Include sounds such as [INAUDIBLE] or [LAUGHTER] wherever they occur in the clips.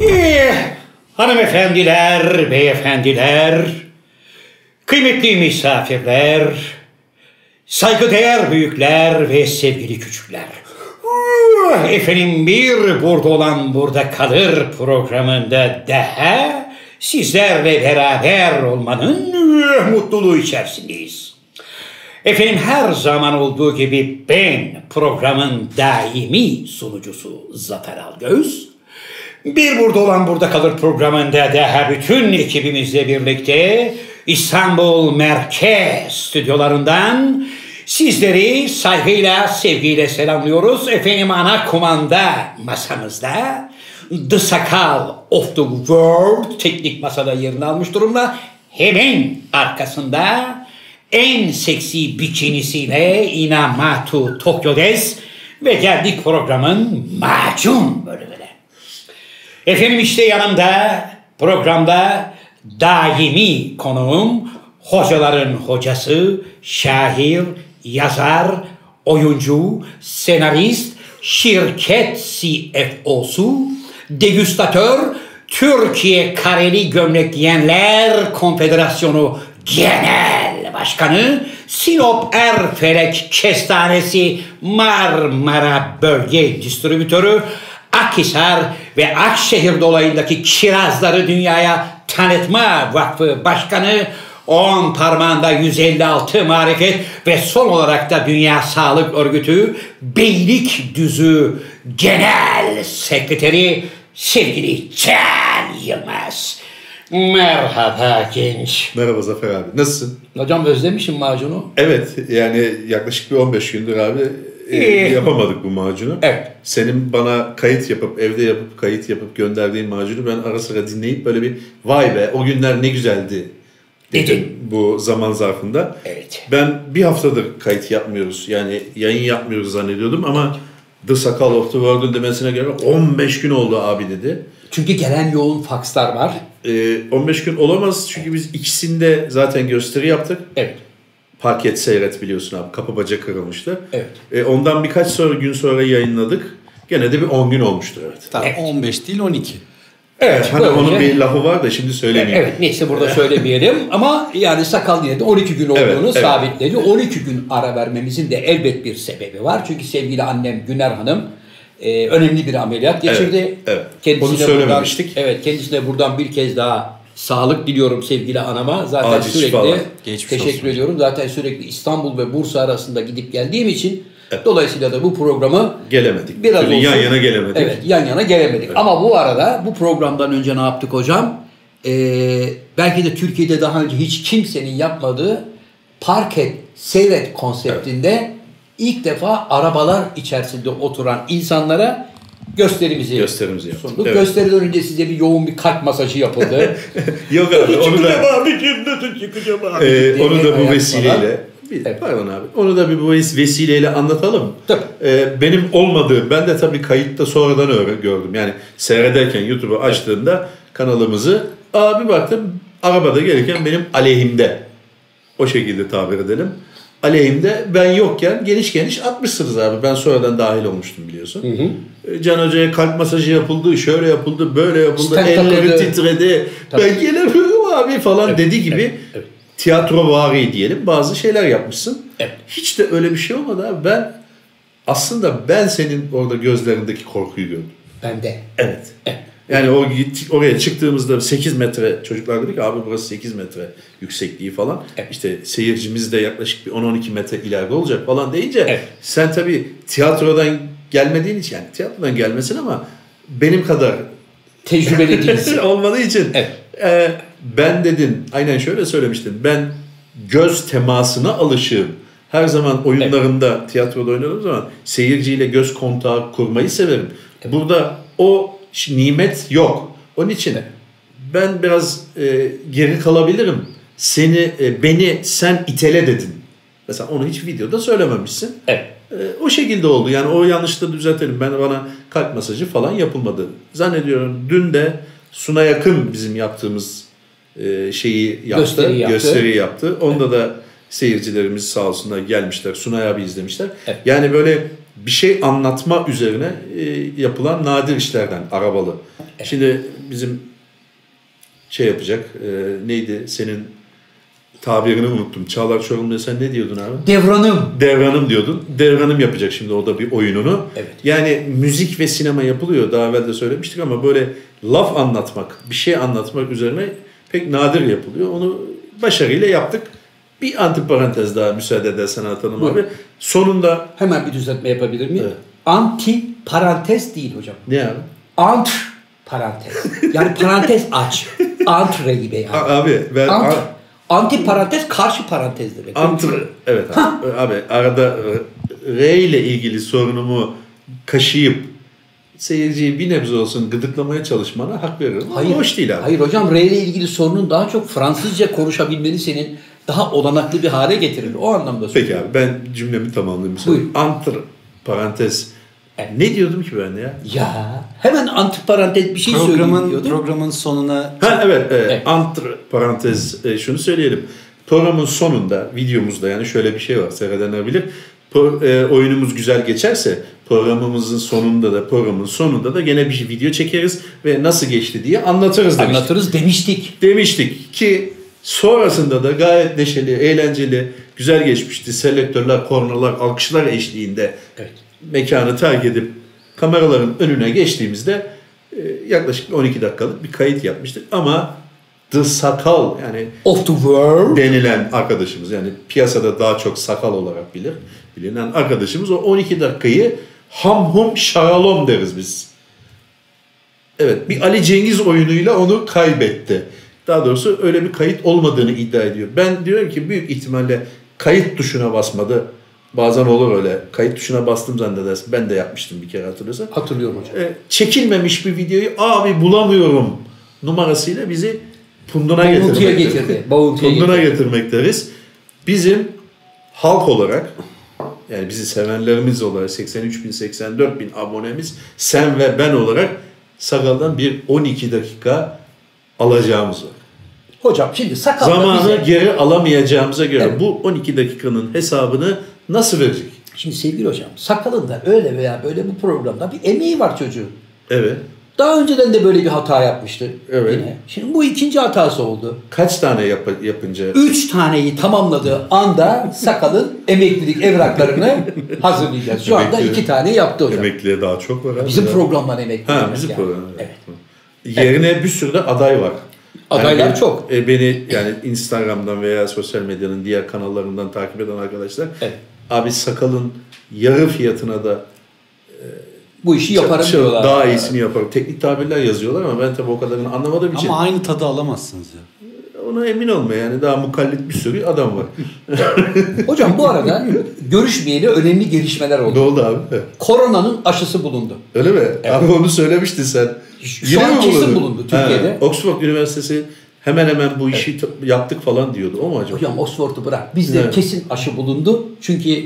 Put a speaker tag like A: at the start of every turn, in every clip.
A: Eh, Hanımefendiler, beyefendiler, kıymetli misafirler, saygıdeğer büyükler ve sevgili küçükler. Uh, Efendim bir burada olan burada kalır programında daha sizlerle beraber olmanın uh, mutluluğu içerisindeyiz. Efendim her zaman olduğu gibi ben programın daimi sunucusu Zafer Algöz. Bir burada olan burada kalır programında daha bütün ekibimizle birlikte İstanbul Merkez stüdyolarından sizleri saygıyla, sevgiyle selamlıyoruz. Efendim ana kumanda masamızda The Sakal of the World teknik masada yerini almış durumda. Hemen arkasında en seksi bikinisiyle Inamatu Tokyo Des ve geldik programın macun bölümüne. Efendim işte yanımda programda daimi konuğum hocaların hocası, şair, yazar, oyuncu, senarist, şirket CFO'su, degüstatör, Türkiye Kareli Gömlek Giyenler Konfederasyonu Genel Başkanı, Sinop Erfelek Kestanesi Marmara Bölge Distribütörü, Akhisar ve Akşehir dolayındaki kirazları dünyaya tanıtma vakfı başkanı 10 parmağında 156 marifet ve son olarak da Dünya Sağlık Örgütü Beylikdüzü Genel Sekreteri sevgili Can Yılmaz. Merhaba genç.
B: Merhaba Zafer abi. Nasılsın?
A: Hocam özlemişim macunu.
B: Evet yani yaklaşık bir 15 gündür abi e,
A: İyi.
B: yapamadık bu macunu.
A: Evet.
B: Senin bana kayıt yapıp evde yapıp kayıt yapıp gönderdiğin macunu ben ara sıra dinleyip böyle bir vay be o günler ne güzeldi
A: Dedim.
B: dedim bu zaman zarfında.
A: Evet.
B: Ben bir haftadır kayıt yapmıyoruz yani yayın yapmıyoruz zannediyordum ama The Sakal of the World'un demesine göre 15 gün oldu abi dedi.
A: Çünkü gelen yoğun fakslar var.
B: E, 15 gün olamaz çünkü biz ikisinde zaten gösteri yaptık.
A: Evet.
B: Parket seyret biliyorsun abi. Kapı bacak kırılmıştı.
A: Evet.
B: E, ondan birkaç sonra gün sonra yayınladık. Gene de bir 10 gün olmuştu evet.
C: Tamam
A: Evet.
C: 15 değil 12.
A: Evet.
B: Hani
A: böylece-
B: onun bir lafı var da şimdi söylemeyeyim.
A: Evet neyse burada söylemeyelim ama yani sakal yine de 12 gün olduğunu
B: Evet, evet.
A: sabitledi. 12 gün ara vermemizin de elbet bir sebebi var. Çünkü sevgili annem Güner Hanım e, önemli bir ameliyat geçirdi.
B: evet.
A: Kendisine
B: Onu söylememiştik.
A: Buradan, evet kendisine buradan bir kez daha sağlık diliyorum sevgili anama. Zaten
B: Acil
A: sürekli
B: şifalar.
C: Geçmiş
A: teşekkür
C: olsun.
A: ediyorum. Zaten sürekli İstanbul ve Bursa arasında gidip geldiğim için dolayısıyla da bu programı
B: Gelemedik.
A: Biraz
B: Biraz yan
A: olsun.
B: yana gelemedik.
A: Evet yan yana gelemedik. Ama bu arada bu programdan önce ne yaptık hocam? Ee, belki de Türkiye'de daha önce hiç kimsenin yapmadığı parket seyret konseptinde ilk defa arabalar içerisinde oturan insanlara gösterimizi
B: Gösterimizi yaptık.
A: sunduk.
B: Evet.
A: Gösteriden önce size bir yoğun bir kalp masajı yapıldı.
B: Yok abi [LAUGHS] onu
A: şey
B: da, e, onu da
A: Ayağa
B: bu vesileyle bir,
A: Evet.
B: pardon abi. Onu da bir bu ves- vesileyle anlatalım.
A: Tabii.
B: E, benim olmadığım ben de tabii kayıtta sonradan öğren- gördüm. Yani seyrederken YouTube'u açtığımda kanalımızı abi baktım arabada gelirken benim aleyhimde o şekilde tabir edelim. Aleyhimde ben yokken geniş geniş atmışsınız abi. Ben sonradan dahil olmuştum biliyorsun. E, Can Hoca'ya kalp masajı yapıldı, şöyle yapıldı, böyle yapıldı,
A: Stent
B: elleri
A: takıldı.
B: titredi.
A: Tabii.
B: Ben gelemiyorum abi falan dediği gibi tiyatro vari diyelim bazı şeyler yapmışsın.
A: Evet.
B: Hiç de öyle bir şey olmadı abi. Ben aslında ben senin orada gözlerindeki korkuyu gördüm.
A: ben de.
B: Evet. Yani o git, oraya çıktığımızda 8 metre çocuklar dedi ki abi burası 8 metre yüksekliği falan. İşte seyircimiz de yaklaşık bir 10-12 metre ileride olacak falan deyince
A: Evet.
B: sen tabii tiyatrodan gelmediğin için yani tiyatrodan gelmesin ama benim kadar [LAUGHS]
A: Tecrübeli değilsin.
B: olmadığı için
A: Evet.
B: e, ben dedin aynen şöyle söylemiştin ben göz temasına alışığım. Her zaman oyunlarımda tiyatroda oynadığım zaman seyirciyle göz kontağı kurmayı severim. Burada o ş- nimet yok. Onun için ben biraz e, geri kalabilirim. Seni e, beni sen itele dedin. Mesela onu hiç videoda söylememişsin.
A: Evet.
B: Ee, o şekilde oldu. Yani o yanlışlığı düzeltelim. Ben bana kalp masajı falan yapılmadı. Zannediyorum dün de Suna yakın bizim yaptığımız e, şeyi yaptı.
A: Gösteriyi yaptı.
B: Gösteriyi yaptı. Onda da seyircilerimiz sağ olsunlar gelmişler. Sunay abi izlemişler.
A: Evet.
B: Yani böyle bir şey anlatma üzerine e, yapılan nadir işlerden arabalı. Şimdi bizim şey yapacak. E, neydi senin tabirini unuttum. Çağlar Çorumlu'ya sen ne diyordun abi?
A: Devranım.
B: Devranım diyordun. Devranım yapacak şimdi o da bir oyununu.
A: Evet.
B: Yani müzik ve sinema yapılıyor. Daha evvel de söylemiştik ama böyle laf anlatmak, bir şey anlatmak üzerine pek nadir yapılıyor. Onu başarıyla yaptık. Bir antiparantez daha müsaade edersen Hatan'ım
A: Buyur.
B: abi. Sonunda
A: Hemen bir düzeltme yapabilir miyim?
B: Evet.
A: Anti parantez değil hocam.
B: ne abi?
A: Ant parantez. Yani parantez aç. Antre gibi yani.
B: A- abi ben
A: Ant,
B: a-
A: anti parantez karşı parantez demek.
B: Antr- evet abi, abi arada R- R ile ilgili sorunumu kaşıyıp seyirciyi bir nebze olsun gıdıklamaya çalışmana hak veriyorum. Ama Hoş değil abi.
A: Hayır hocam R ile ilgili sorunun daha çok Fransızca konuşabilmeni senin daha olanaklı bir hale getirir. O anlamda
B: Peki abi ben cümlemi tamamlayayım. sana.
A: Buyur.
B: Antr parantez. Ne diyordum ki ben ya?
A: Ya hemen anti parantez bir şey söyleyeyim
C: Programın,
A: diyordum.
C: programın sonuna
B: Ha evet, e,
A: Evet.
B: antr parantez e, şunu söyleyelim. Programın sonunda videomuzda yani şöyle bir şey var seyredenebilir. Pro- e, oyunumuz güzel geçerse programımızın sonunda da programın sonunda da gene bir video çekeriz ve nasıl geçti diye anlatırız demiştik.
A: Anlatırız demiştik.
B: demiştik ki sonrasında da gayet neşeli, eğlenceli, güzel geçmişti. Selektörler, kornalar, alkışlar eşliğinde
A: Evet.
B: mekanı terk edip kameraların önüne geçtiğimizde e, yaklaşık 12 dakikalık bir kayıt yapmıştık ama The Sakal yani
A: Of the world.
B: denilen arkadaşımız yani piyasada daha çok sakal olarak bilir bilinen arkadaşımız o 12 dakikayı ham hum şaralom deriz biz. Evet bir Ali Cengiz oyunuyla onu kaybetti. Daha doğrusu öyle bir kayıt olmadığını iddia ediyor. Ben diyorum ki büyük ihtimalle kayıt tuşuna basmadı. Bazen olur öyle. Kayıt tuşuna bastım zannedersin. Ben de yapmıştım bir kere hatırlıyorsan.
A: Hatırlıyorum hocam.
B: E, çekilmemiş bir videoyu abi bulamıyorum numarasıyla bizi punduna
A: Boğuntuya
B: getirmekte.
A: getirdi. Boğuntuya
B: Punduna
A: getirdi.
B: getirmekteyiz. Bizim halk olarak yani bizi sevenlerimiz olarak 83 bin 84 bin abonemiz sen ve ben olarak Sakal'dan bir 12 dakika alacağımız var.
A: Hocam şimdi sakal da
B: Zamanı
A: bize-
B: geri alamayacağımıza göre
A: Evet.
B: bu 12 dakikanın hesabını nasıl verecek?
A: Şimdi sevgili hocam sakalın da öyle veya böyle bu programda bir emeği var çocuğun.
B: Evet.
A: Daha önceden de böyle bir hata yapmıştı.
B: Evet.
A: Yine. Şimdi bu ikinci hatası oldu.
B: Kaç tane yap- yapınca
A: Üç taneyi tamamladığı anda
B: [LAUGHS]
A: sakalın emeklilik evraklarını hazırlayacağız. Şu anda
B: Emekli-
A: iki tane yaptı hocam.
B: emekliye daha çok var. abi
A: Bizim
B: ya.
A: programdan emekli.
B: Ha
A: olacak
B: bizim
A: yani.
B: program.
A: Evet.
B: Yerine bir sürü de aday var.
A: Adaylar
B: Yani ben-
A: çok.
B: e, beni yani Instagram'dan veya sosyal medyanın diğer kanallarından takip eden arkadaşlar.
A: Evet.
B: Abi sakalın yarı fiyatına da
A: Bu işi yaparım
B: şey,
A: diyorlar.
B: daha iyisini yaparım. Teknik tabirler yazıyorlar ama ben tabii o kadarını anlamadığım için
C: ama aynı tadı alamazsınız ya.
B: ona emin olma yani daha mukallit bir sürü adam var. [LAUGHS]
A: Hocam bu arada görüşmeyeli önemli gelişmeler
B: ne
A: oldu.
B: oldu abi?
A: Koronanın aşısı bulundu.
B: Öyle mi? Abi onu söylemiştin sen.
A: Şu an kesin bulundu Türkiye'de.
B: Ha, Oxford Üniversitesi hemen hemen bu işi t- yaptık falan diyordu. O mu acaba?
A: Hocam Oxford'u bırak. Bizde
B: Evet.
A: kesin aşı bulundu. Çünkü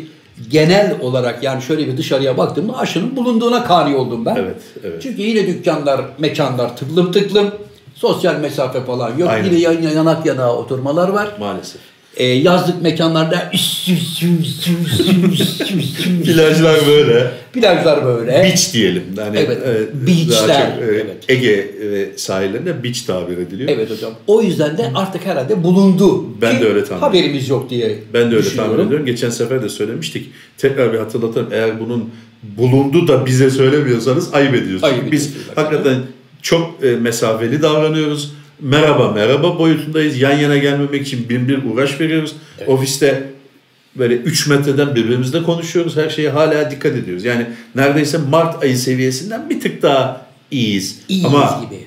A: genel olarak yani şöyle bir dışarıya baktığımda aşının bulunduğuna kani oldum ben.
B: Evet, evet.
A: Çünkü yine dükkanlar, mekanlar tıklım tıklım. Sosyal mesafe falan yok.
B: Aynen.
A: Yine yan, yanak yanağa oturmalar var.
B: Maalesef.
A: Ee, yazlık mekanlarda üs, üs, üs, üs, üs, üs, üs.
B: Plajlar böyle.
A: plajlar böyle.
B: Beach diyelim. Yani,
A: Evet.
B: e,
A: Beachler.
B: daha çok, e,
A: Evet.
B: Ege e, sahillerine beach tabir ediliyor.
A: Evet hocam. O yüzden de artık herhalde bulundu.
B: Ben
A: Ki
B: de öyle tahmin
A: Haberimiz yok diye
B: Ben de öyle tahmin
A: düşünüyorum.
B: ediyorum. Geçen sefer de söylemiştik. Tekrar bir hatırlatalım. Eğer bunun bulundu da bize söylemiyorsanız ayıp ediyorsunuz.
A: Ayıp
B: Biz
A: ediyorsunuz hakikaten.
B: hakikaten çok e, mesafeli davranıyoruz. Merhaba merhaba boyutundayız. Yan yana gelmemek için bin bir uğraş veriyoruz. Ofiste böyle 3 metreden birbirimizle konuşuyoruz. Her şeye hala dikkat ediyoruz. Yani neredeyse Mart ayı seviyesinden bir tık daha iyiyiz.
A: İyiyiz
B: Ama
A: gibi.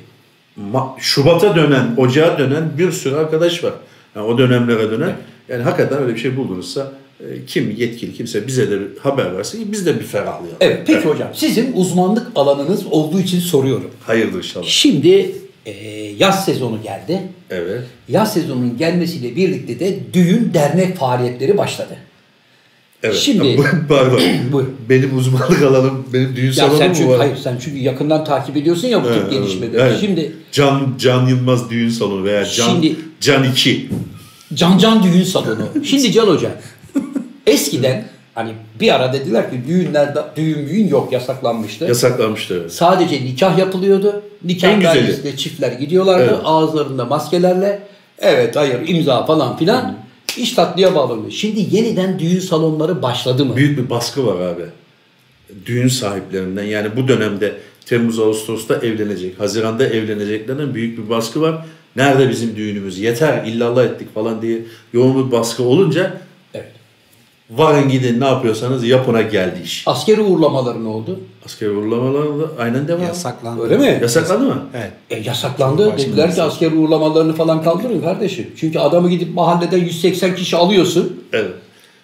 B: Ma- Şubat'a dönen, Ocağa dönen bir sürü arkadaş var. Yani o dönemlere dönen. Yani hakikaten öyle bir şey buldunuzsa e, kim yetkili kimse bize de bir haber versin ki biz de bir ferahlayalım.
A: Evet peki hocam sizin uzmanlık alanınız olduğu için soruyorum.
B: Hayırdır inşallah.
A: Şimdi e, yaz sezonu geldi.
B: Evet.
A: Yaz sezonunun gelmesiyle birlikte de düğün dernek faaliyetleri başladı.
B: Evet.
A: Şimdi-
B: [LAUGHS]
A: [CLEARS THROAT]
B: Pardon.
A: Buyurun.
B: Benim uzmanlık alanım, benim düğün
A: Ya
B: salonum
A: sen
B: mu
A: çünkü,
B: var?
A: hayır sen çünkü yakından takip ediyorsun ya bu
B: Evet,
A: tip
B: evet.
A: gelişmeleri.
B: Evet.
A: Şimdi
B: Can, Can Yılmaz düğün salonu veya Can,
A: Şimdi-
B: Can 2. [LAUGHS]
A: Can Can Düğün Salonu. Şimdi Can Hoca eskiden Hani bir ara dediler ki düğünlerde düğün müğün yok yasaklanmıştı.
B: Yasaklanmıştı. evet.
A: Sadece nikah yapılıyordu.
B: En
A: Nikah
B: güzeli.
A: dairesinde çiftler gidiyorlardı.
B: Evet.
A: Ağızlarında maskelerle. Evet hayır imza falan filan. İş tatlıya bağlanıyor. Şimdi yeniden düğün salonları başladı mı?
B: Büyük bir baskı var abi. Düğün sahiplerinden yani bu dönemde Temmuz Ağustos'ta evlenecek, Haziran'da evleneceklerden büyük bir baskı var. Nerede bizim düğünümüz? Yeter illallah ettik falan diye yoğun bir baskı olunca
A: Evet.
B: varın gidin ne yapıyorsanız yapına geldi iş.
A: Askeri uğurlamaları ne oldu?
B: Askeri uğurlamalar da aynen devam.
C: Yasaklandı.
A: Öyle mi?
B: Yasaklandı mı?
C: Evet.
A: E, yasaklandı. Dediler
B: şey.
A: ki askeri uğurlamalarını falan kaldırın kardeşim. Çünkü adamı gidip mahallede 180 kişi alıyorsun.
B: Evet.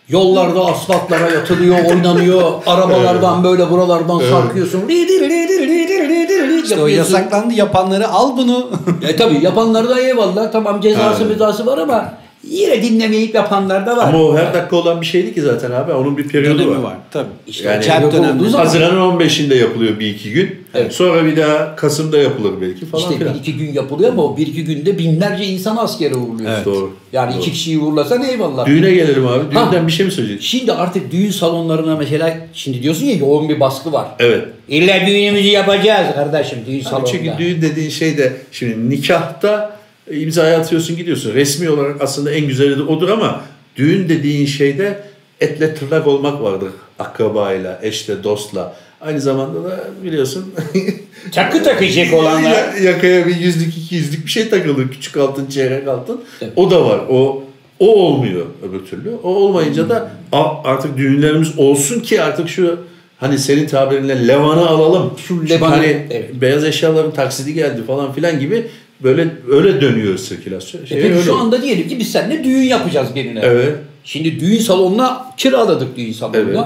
A: Yollarda asfaltlara yatılıyor,
B: [LAUGHS]
A: oynanıyor. Arabalardan böyle buralardan sarkıyorsun. Lidir lidir lidir lidir lidir
C: İşte o
A: yapıyorsun.
C: yasaklandı yapanları al bunu.
A: E tabii yapanlar da eyvallah. Tamam cezası
B: Evet.
A: müzası var ama yine dinlemeyip yapanlar da var.
B: Ama o her dakika olan bir şeydi ki zaten abi. Onun bir periyodu
C: Dönemi
B: var.
C: var. Tabii.
A: İşte
B: Yani-
A: cep
C: Yok
A: dönemi.
C: olduğu zaman-
B: Haziran'ın 15'inde yapılıyor bir iki gün.
A: Evet.
B: Sonra bir daha Kasım'da yapılır belki falan
A: İşte bir
B: filan.
A: iki gün yapılıyor ama o bir iki günde binlerce insan askere uğurluyor.
C: Evet.
B: Doğru.
A: Yani
B: Doğru.
A: iki kişiyi uğurlasan eyvallah.
B: Düğüne gelelim abi.
A: Ha.
B: Düğünden bir şey mi söyleyeceksin?
A: Şimdi artık düğün salonlarına mesela şimdi diyorsun ya yoğun bir baskı var.
B: Evet.
A: İlla düğünümüzü yapacağız kardeşim düğün
B: Abi
A: salonunda.
B: çünkü düğün dediğin şey de şimdi nikahta imzaya atıyorsun gidiyorsun. Resmi olarak aslında en güzeli de odur ama düğün dediğin şeyde etle tırnak olmak vardır. Akrabayla, eşle, dostla. Aynı zamanda da biliyorsun [LAUGHS]
A: Takı takacak olanlar.
B: Ya- yakaya bir yüzlük iki yüzlük bir şey takılır. Küçük altın, çeyrek altın.
A: Evet.
B: O da var. O o olmuyor öbür türlü. O olmayınca da a- artık düğünlerimiz olsun ki artık şu hani senin tabirinle levanı alalım.
A: Şu
B: Çünkü
A: levanı,
B: hani
A: evet.
B: beyaz eşyaların taksidi geldi falan filan gibi böyle öyle dönüyor sirkülasyon. Şey
A: E peki
B: öyle
A: şu
B: oldu.
A: anda diyelim ki biz seninle düğün yapacağız birine.
B: Evet.
A: Şimdi düğün salonuna kiraladık düğün salonuna.
B: Evet.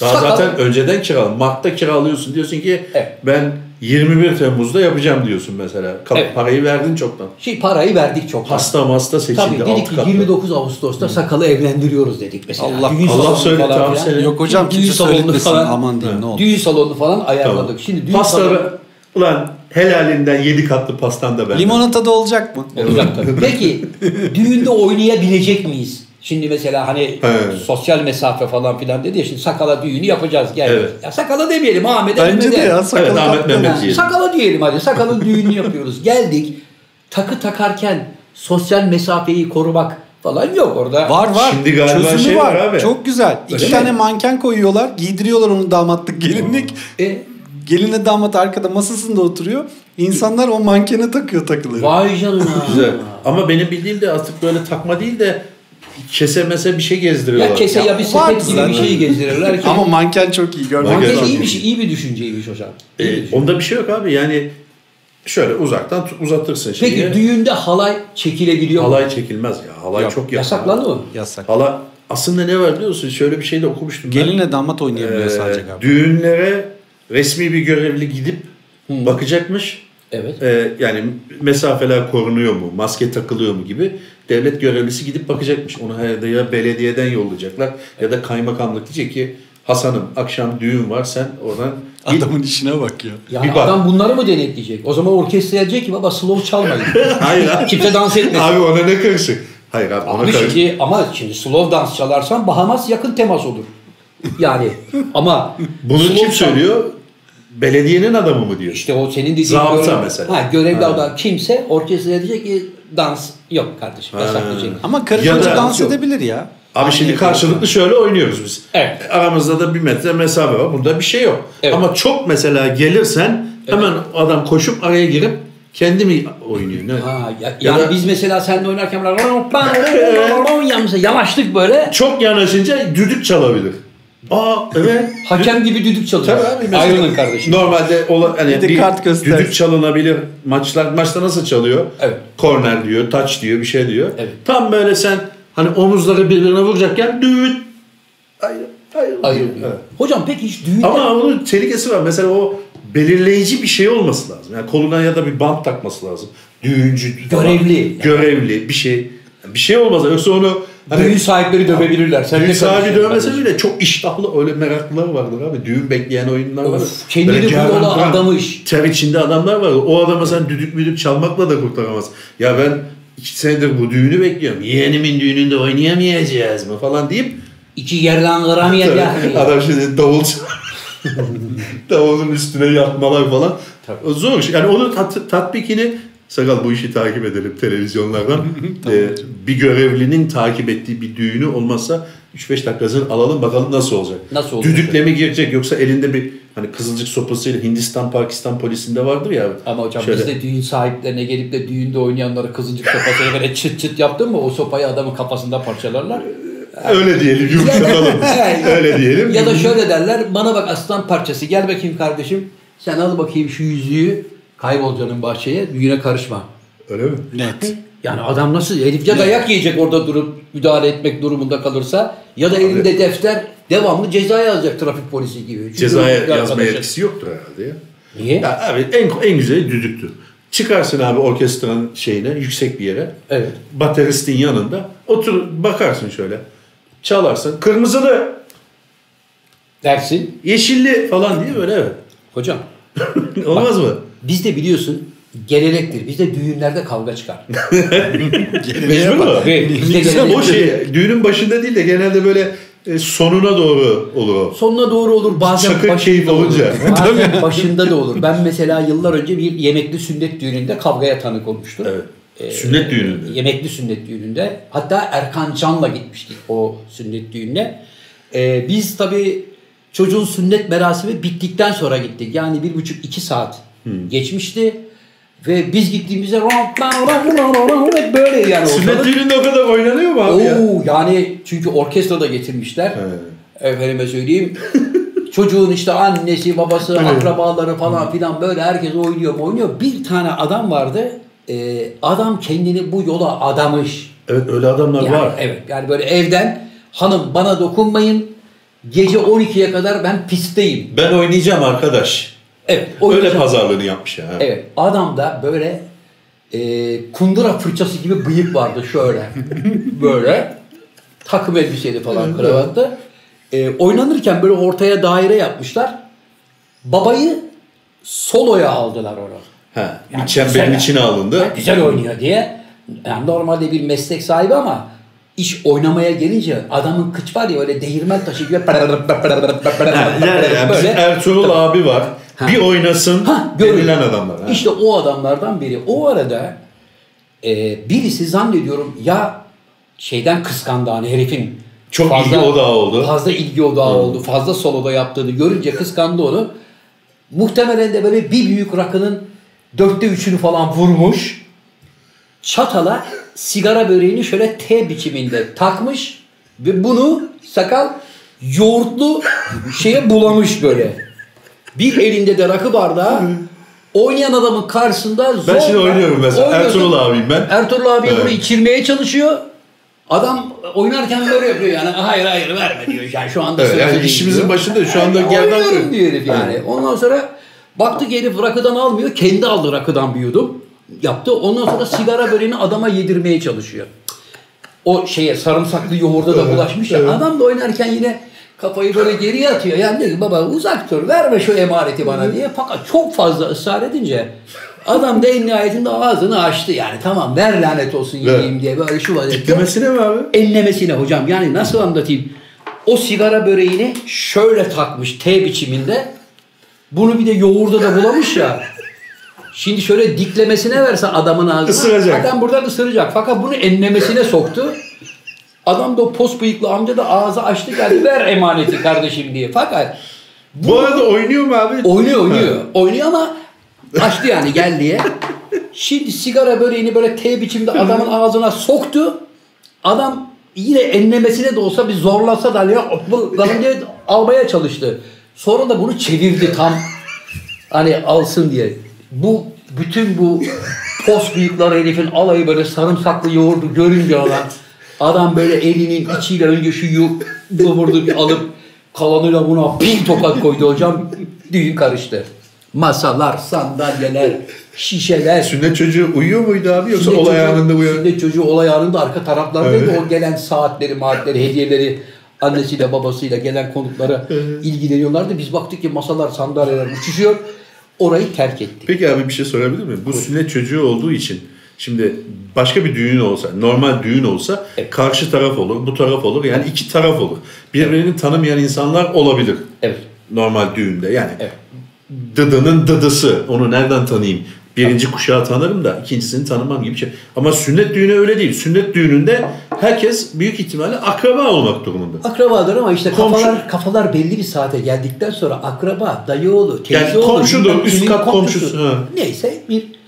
B: Daha
A: Sakal-
B: zaten önceden kiralı. Mart'ta kiralıyorsun diyorsun ki
A: Evet.
B: ben 21 Temmuz'da yapacağım diyorsun mesela. Kap-
A: Evet.
B: Parayı verdin çoktan.
A: şey parayı verdik çok.
B: Hasta masta
A: Tabii
B: seçildi.
A: dedik
B: alt
A: ki
B: katlı.
A: 29 Ağustos'ta sakalı evlendiriyoruz dedik mesela.
C: Allah-
A: Düğün
B: Allah
A: salonu
B: söyle,
A: falan
B: tamam
A: filan.
B: söyle.
C: Yok hocam
A: Düğün
C: kimse
A: salonu
C: söyletmesin
A: falan.
C: aman diyeyim ne olur.
A: Düğün salonu falan ayarladık.
B: Tamam.
A: Şimdi düğün
B: Pasta
A: salonu
B: ulan helalinden 7 katlı pastan da ben.
C: Limonata da olacak mı?
A: olacak tabii. [LAUGHS] Peki düğünde oynayabilecek miyiz? Şimdi mesela hani
B: He.
A: sosyal mesafe falan filan dedi ya şimdi sakala düğünü yapacağız gel.
B: Evet.
A: Ya sakala demeyelim Ahmet'e
C: Bence de
A: Mehmet'e.
C: ya.
B: Evet,
C: Sakal
B: Ahmet
C: kaptan.
B: Mehmet.
A: Ha,
B: diyelim.
A: Sakala diyelim hadi. Sakalın düğününü yapıyoruz. Geldik. Takı takarken sosyal mesafeyi korumak falan yok orada.
C: Var var.
B: Şimdi galiba
C: Çözümü
B: şey var
C: var.
B: abi.
C: Çok güzel. İki
A: Öyle mi?
C: tane manken koyuyorlar. Giydiriyorlar onu damatlık gelinlik.
B: Hmm.
A: E,
C: Gelinle damat arkada masasında oturuyor. İnsanlar o mankene takıyor takıları.
A: vay canına.
B: Güzel. Ama benim bildiğim de artık böyle takma değil de kese mese bir şey gezdiriyorlar.
A: Ya kese ya bir
C: Var
A: sepet gibi
C: zaten.
A: bir şeyi gezdirirler ki.
C: Ama manken çok iyi görmek
B: Manken
A: Manken
C: lazım.
A: iyi bir, şey- iyi bir düşünceymiş hocam. İyi bir
B: Ee,
A: düşünce.
B: onda bir şey yok abi yani şöyle uzaktan tut- uzatırsın şeyi.
A: Peki düğünde halay çekilebiliyor mu?
B: Halay çekilmez ya. Halay
C: Yok,
B: çok yakın.
A: Yasaklandı mı?
C: Yasak.
B: Halay aslında ne var biliyorsun? Şöyle bir şey de okumuştum. ben.
C: Gelinle damat oynayabiliyor
B: Ee,
C: sadece galiba.
B: düğünlere resmi bir görevli gidip bakacakmış.
A: Evet.
B: Ee, yani mesafeler korunuyor mu, maske takılıyor mu gibi devlet görevlisi gidip bakacakmış. Onu herhalde ya belediyeden yollayacaklar ya da kaymakamlık diyecek ki Hasan'ım akşam düğün var sen oradan git.
C: Adamın işine bak ya.
A: Yani
B: bir bak.
A: adam bunları mı denetleyecek? O zaman orkestra diyecek ki baba slow
B: [LAUGHS]
A: çalmayın.
B: [LAUGHS] Hayır abi.
A: Kimse dans etmesin.
B: Abi ona ne karışır? Hayır abi ona
A: Abi şey-
B: karışır.
A: şimdi, ama şimdi slow dans çalarsan Bahamas yakın temas olur. Yani ama
B: Bunu
A: slow
B: kim
A: çal-
B: söylüyor? Belediyenin adamı mı diyor?
A: İşte o senin dediğin
B: Zabıta mesela.
A: Ha, görevli
B: Ha.
A: adam kimse orkestra diyecek ki dans yok kardeşim yasaklayacak.
C: Ama
B: Ya
C: karı
B: da-
C: çocuk dans
A: Yok.
C: edebilir ya.
B: Abi şimdi karşılıklı şöyle oynuyoruz biz. E,
A: Evet.
B: Aramızda da bir metre mesafe var. Bunda bir şey yok.
A: Evet.
B: Ama çok mesela gelirsen hemen adam koşup araya girip kendi mi oynuyor? Ne?
A: Ha, ya,
B: Ya
A: yani
B: da-
A: biz mesela seninle oynarken böyle yavaşlık böyle
B: Çok yanaşınca düdük çalabilir. Aa
A: [LAUGHS]
B: evet.
A: hakem gibi düdük çalıyor.
B: Tabii abi, mesela-
A: Ayrılın kardeşim.
B: Normalde ola, hani
C: Bir de
B: bir
C: kart göster.
B: düdük çalınabilir. Maçlar maçta nasıl çalıyor?
A: Evet.
B: Korner diyor, taç diyor, bir şey diyor.
A: Evet.
B: Tam böyle sen hani omuzları birbirine vuracakken düt. Ayrı, ayrı.
A: Ayrılıyor.
B: Evet.
A: Hocam peki hiç düğünde
B: Ama onun tehlikesi var. Mesela o belirleyici bir şey olması lazım. Yani koluna ya da bir bant takması lazım. Düğüncü. falan.
A: Görevli.
B: Görevli bir şey. Bir şey olmaz. Yoksa onu hani
A: düğün sahipleri dövebilirler. Sen
B: düğün
A: ne
B: sahibi
A: karışıyorsun
B: dövmese
A: kardeşim?
B: bile çok iştahlı öyle meraklılar vardır abi. Düğün bekleyen oyunlar var.
A: Of, kendini
B: Böyle
A: bu yola
B: kıran,
A: adamış.
B: Ter içinde adamlar var. O adama sen düdük müdük çalmakla da kurtaramaz. Ya ben iki senedir bu düğünü bekliyorum. Yeğenimin düğününde oynayamayacağız mı falan deyip
A: İki yerden kıram yer yani.
B: Adam şimdi davul [LAUGHS] davulun üstüne yatmalar falan. O Zor iş. Yani onun tat- tatbikini sakal bu işi takip edelim televizyonlardan. Ee, bir görevlinin takip ettiği bir düğünü olmazsa 3-5 dakikasını alalım bakalım nasıl olacak.
A: Nasıl olacak?
B: Düdükle mi girecek yoksa elinde bir hani kızılcık sopasıyla Hindistan Pakistan polisinde vardır ya.
A: Ama hocam
B: Şöyle.
A: bizde düğün sahiplerine gelip de düğünde oynayanlara kızılcık sopasıyla böyle çıt çıt yaptın mı o sopayı adamın kafasında parçalarlar.
B: Öyle diyelim
A: [LAUGHS]
B: yumuşatalım.
A: Evet.
B: Öyle diyelim.
A: Ya da şöyle derler bana bak aslan parçası gel bakayım kardeşim sen al bakayım şu yüzüğü kaybol canım bahçeye düğüne karışma.
B: Öyle mi?
C: [LAUGHS] Net.
A: Yani adam nasıl herif ya dayak yiyecek orada durup müdahale etmek durumunda kalırsa ya da elinde defter devamlı ceza yazacak trafik polisi gibi. Çünkü
B: Cezaya
A: bir
B: yazma
A: arkadaşı-
B: yetkisi yoktur herhalde ya.
A: Niye?
B: Ya abi en, en güzeli düdüktür. Çıkarsın abi orkestranın şeyine yüksek bir yere.
A: Evet.
B: Bateristin yanında otur bakarsın şöyle. Çalarsın. Kırmızılı,
A: Dersin.
B: yeşilli falan diye böyle evet.
A: Hocam
B: Olmaz mı?
A: bizde biliyorsun gelenektir. Bizde düğünlerde kavga
B: [LAUGHS]
A: çıkar.
B: Mecbur mu?
A: Ve bizde
B: Sen o
A: gelenektir.
B: şey düğünün başında değil de genelde böyle e, sonuna doğru olur o.
A: Sonuna doğru olur bazen
B: Çakır
A: başında
B: keyif
A: da olur.
B: olunca.
A: Bazen başında da olur. Ben mesela yıllar önce bir yemekli sünnet düğününde kavgaya tanık olmuştum.
B: Evet.
A: Ee,
B: Sünnet düğününde.
A: e, Yemekli sünnet düğününde. Hatta Erkan Can'la gitmiştik o sünnet düğününe. Ee, biz tabii çocuğun sünnet merasimi bittikten sonra gittik. Yani bir buçuk iki saat
B: Hmm.
A: geçmişti. Ve biz gittiğimizde hep böyle yani.
B: Sünnet
A: ortalık.
B: düğününde o kadar oynanıyor mu abi ya?
A: Oo, yani çünkü orkestra da getirmişler. Efendime
B: [LAUGHS]
A: söyleyeyim. Çocuğun işte annesi, babası, akrabaları falan filan böyle herkes oynuyor mu oynuyor. Bir tane adam vardı. Ee, adam kendini bu yola adamış.
B: Evet öyle adamlar
A: Yani,
B: var.
A: Evet. Yani böyle evden hanım bana dokunmayın. Gece 12'ye kadar ben pistteyim.
B: Ben oynayacağım arkadaş.
A: Evet.
B: Öyle
A: oynayacağım.
B: pazarlığını yapmış ya.
A: Evet. Adamda böyle e, kundura fırçası gibi bıyık vardı şöyle. böyle. Takım elbiseli falan kravatta. E, oynanırken böyle ortaya daire yapmışlar. Babayı soloya aldılar orada.
B: Ha,
A: Yani
B: bir çemberin
A: güzel.
B: içine alındı.
A: Güzel oynuyor diye. Yani normalde bir meslek sahibi ama iş oynamaya gelince adamın kıç var ya öyle değirmen taşı gibi
B: Yani, yani bizim Ertuğrul abi var. Bir oynasın
A: Ha, görün.
B: denilen adamlar. Ha.
A: İşte o adamlardan biri. O arada e, birisi zannediyorum ya şeyden kıskandı hani herifin.
B: Çok ilgi odağı oldu. Hmm.
A: Fazla ilgi odağı oldu. Fazla soloda yaptığını görünce kıskandı onu. Muhtemelen de böyle bir büyük rakının dörtte üçünü falan vurmuş. Çatala sigara böreğini şöyle T biçiminde takmış ve bunu sakal yoğurtlu şeye bulamış böyle. Bir elinde de rakı bardağı oynayan adamın karşısında zor.
B: ben şimdi oynuyorum mesela. Ertuğrul abiyim ben.
A: Ertuğrul abi
B: Evet.
A: bunu içirmeye çalışıyor. Adam oynarken böyle yapıyor yani. Hayır hayır verme diyor. Yani şu anda
B: Evet,
A: sırası
B: yani
A: değil
B: işimizin
A: diyor.
B: başında şu anda
A: Yani
B: gerdan
A: Oynuyorum
B: kırıyor.
A: diyor herif yani. Ondan sonra baktık herif rakıdan almıyor. Kendi aldı rakıdan bir yudum. Yaptı. Ondan sonra sigara böreğini adama yedirmeye çalışıyor. O şeye sarımsaklı yoğurda da bulaşmış ya. Adam da oynarken yine kafayı böyle geriye atıyor. Yani diyor ki baba uzak dur verme şu emareti bana diye. Fakat çok fazla ısrar edince adam da en nihayetinde ağzını açtı yani. Tamam ver lanet olsun yiyeyim diye böyle şu vaziyette
B: Demesine mi abi?
A: enlemesine hocam. Yani nasıl anlatayım? O sigara böreğini şöyle takmış T biçiminde. Bunu bir de yoğurda da bulamış ya. Şimdi şöyle diklemesine verse adamın ağzına.
B: Isıracak.
A: Adam buradan ısıracak. Fakat bunu enlemesine soktu. Adam da o pos bıyıklı amca da ağzı açtı geldi. Ver emaneti kardeşim diye. Fakat
B: Bu arada oynuyor mu abi?
A: Oynuyor oynuyor. Oynuyor ama açtı yani gel diye. Şimdi sigara böreğini böyle T biçimde adamın ağzına soktu. Adam yine enlemesine de olsa bir zorlasa da ya bu kadın diye almaya çalıştı. Sonra da bunu çevirdi tam hani alsın diye. Bu bütün bu pos bıyıkları herifin alayı böyle sarımsaklı yoğurdu görünce olan adam böyle elinin içiyle önce şu yu- yoğurdu bir alıp kalanıyla buna bir tokat koydu hocam. Düğün karıştı. Masalar, sandalyeler, şişeler.
B: Sünnet çocuğu uyuyor muydu abi yoksa
A: Sünnet
B: olay
A: çocuğu-
B: anında uyanıyor?
A: Sünnet çocuğu olay anında arka taraflardaydı.
B: Evet.
A: O gelen saatleri, maatleri, hediyeleri annesiyle
B: [LAUGHS]
A: babasıyla gelen konuklara ilgileniyorlardı. Biz baktık ki masalar, sandalyeler uçuşuyor. Orayı terk ettik.
B: Peki abi bir şey sorabilir miyim? Bu sünnet çocuğu olduğu için Şimdi başka bir düğün olsa, normal düğün olsa
D: Evet.
B: karşı taraf olur, bu taraf olur. Yani iki taraf olur. Birbirini tanımayan insanlar olabilir
D: Evet.
B: normal düğünde. Yani
D: Evet.
B: dıdının dıdısı. Onu nereden tanıyayım? Birinci kuşağı tanırım da ikincisini tanımam gibi bir şey. Ama sünnet düğünü öyle değil. Sünnet düğününde herkes büyük ihtimalle akraba olmak durumunda.
A: Akrabadır ama işte
B: Komşu.
A: kafalar kafalar belli bir saate geldikten sonra akraba, dayı oğlu, teyze
B: Yani
A: oğlu,
B: komşudur,
A: bilmem
B: üst
A: kimin
B: kat komşusu, ha.
A: Neyse bir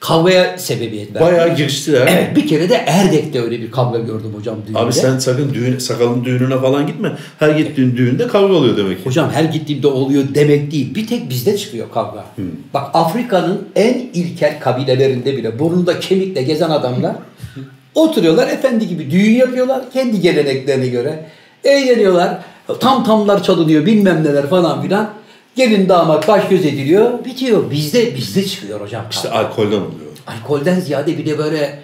A: kavgaya sebebiyet verdi.
B: Bayağı giriştiler.
A: Evet bir kere de Erdek'te öyle bir kavga gördüm hocam düğünde.
B: Abi sen sakın düğün, sakalın düğününe falan gitme. Her gittiğin düğünde kavga oluyor demek ki.
A: Hocam her gittiğimde oluyor demek değil. Bir tek bizde çıkıyor kavga. Bak Afrika'nın en ilkel kabilelerinde bile burnunda kemikle gezen adamlar oturuyorlar efendi gibi düğün yapıyorlar kendi geleneklerine göre. Eğleniyorlar. Tam tamlar çalınıyor bilmem neler falan filan. Gelin damat baş göz ediliyor. Bitiyor. Bizde bizde çıkıyor hocam.
B: İşte alkolden oluyor.
A: Alkolden ziyade bir de böyle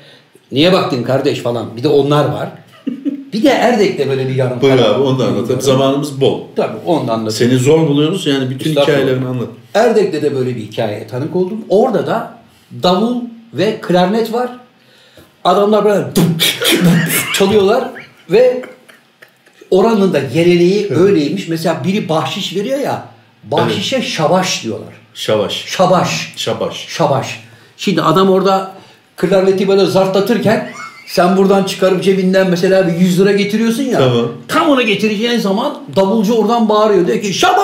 A: niye baktın kardeş falan. Bir de onlar var.
B: [LAUGHS]
A: bir de Erdek'te böyle bir yarım
B: Buyur
A: kalan-
B: abi onu da anlatalım. Zamanımız bol.
A: Tabii ondan da
B: Seni zor buluyoruz yani bütün
A: Estağfurullah.
B: hikayelerini anlat.
A: Erdek'te de böyle bir hikayeye tanık oldum. Orada da davul ve klarnet var. Adamlar böyle dum, [LAUGHS] dum çalıyorlar ve oranın da geleneği öyleymiş. Mesela biri bahşiş veriyor ya. Bahşişe şabaş diyorlar.
B: Şavaş.
A: Şabaş.
B: Şabaş.
A: Şabaş. Şimdi adam orada klarneti böyle zartlatırken sen buradan çıkarıp cebinden mesela bir 100 lira getiriyorsun ya.
B: Tamam.
A: Tam onu getireceğin zaman davulcu oradan bağırıyor. Diyor ki şabaş!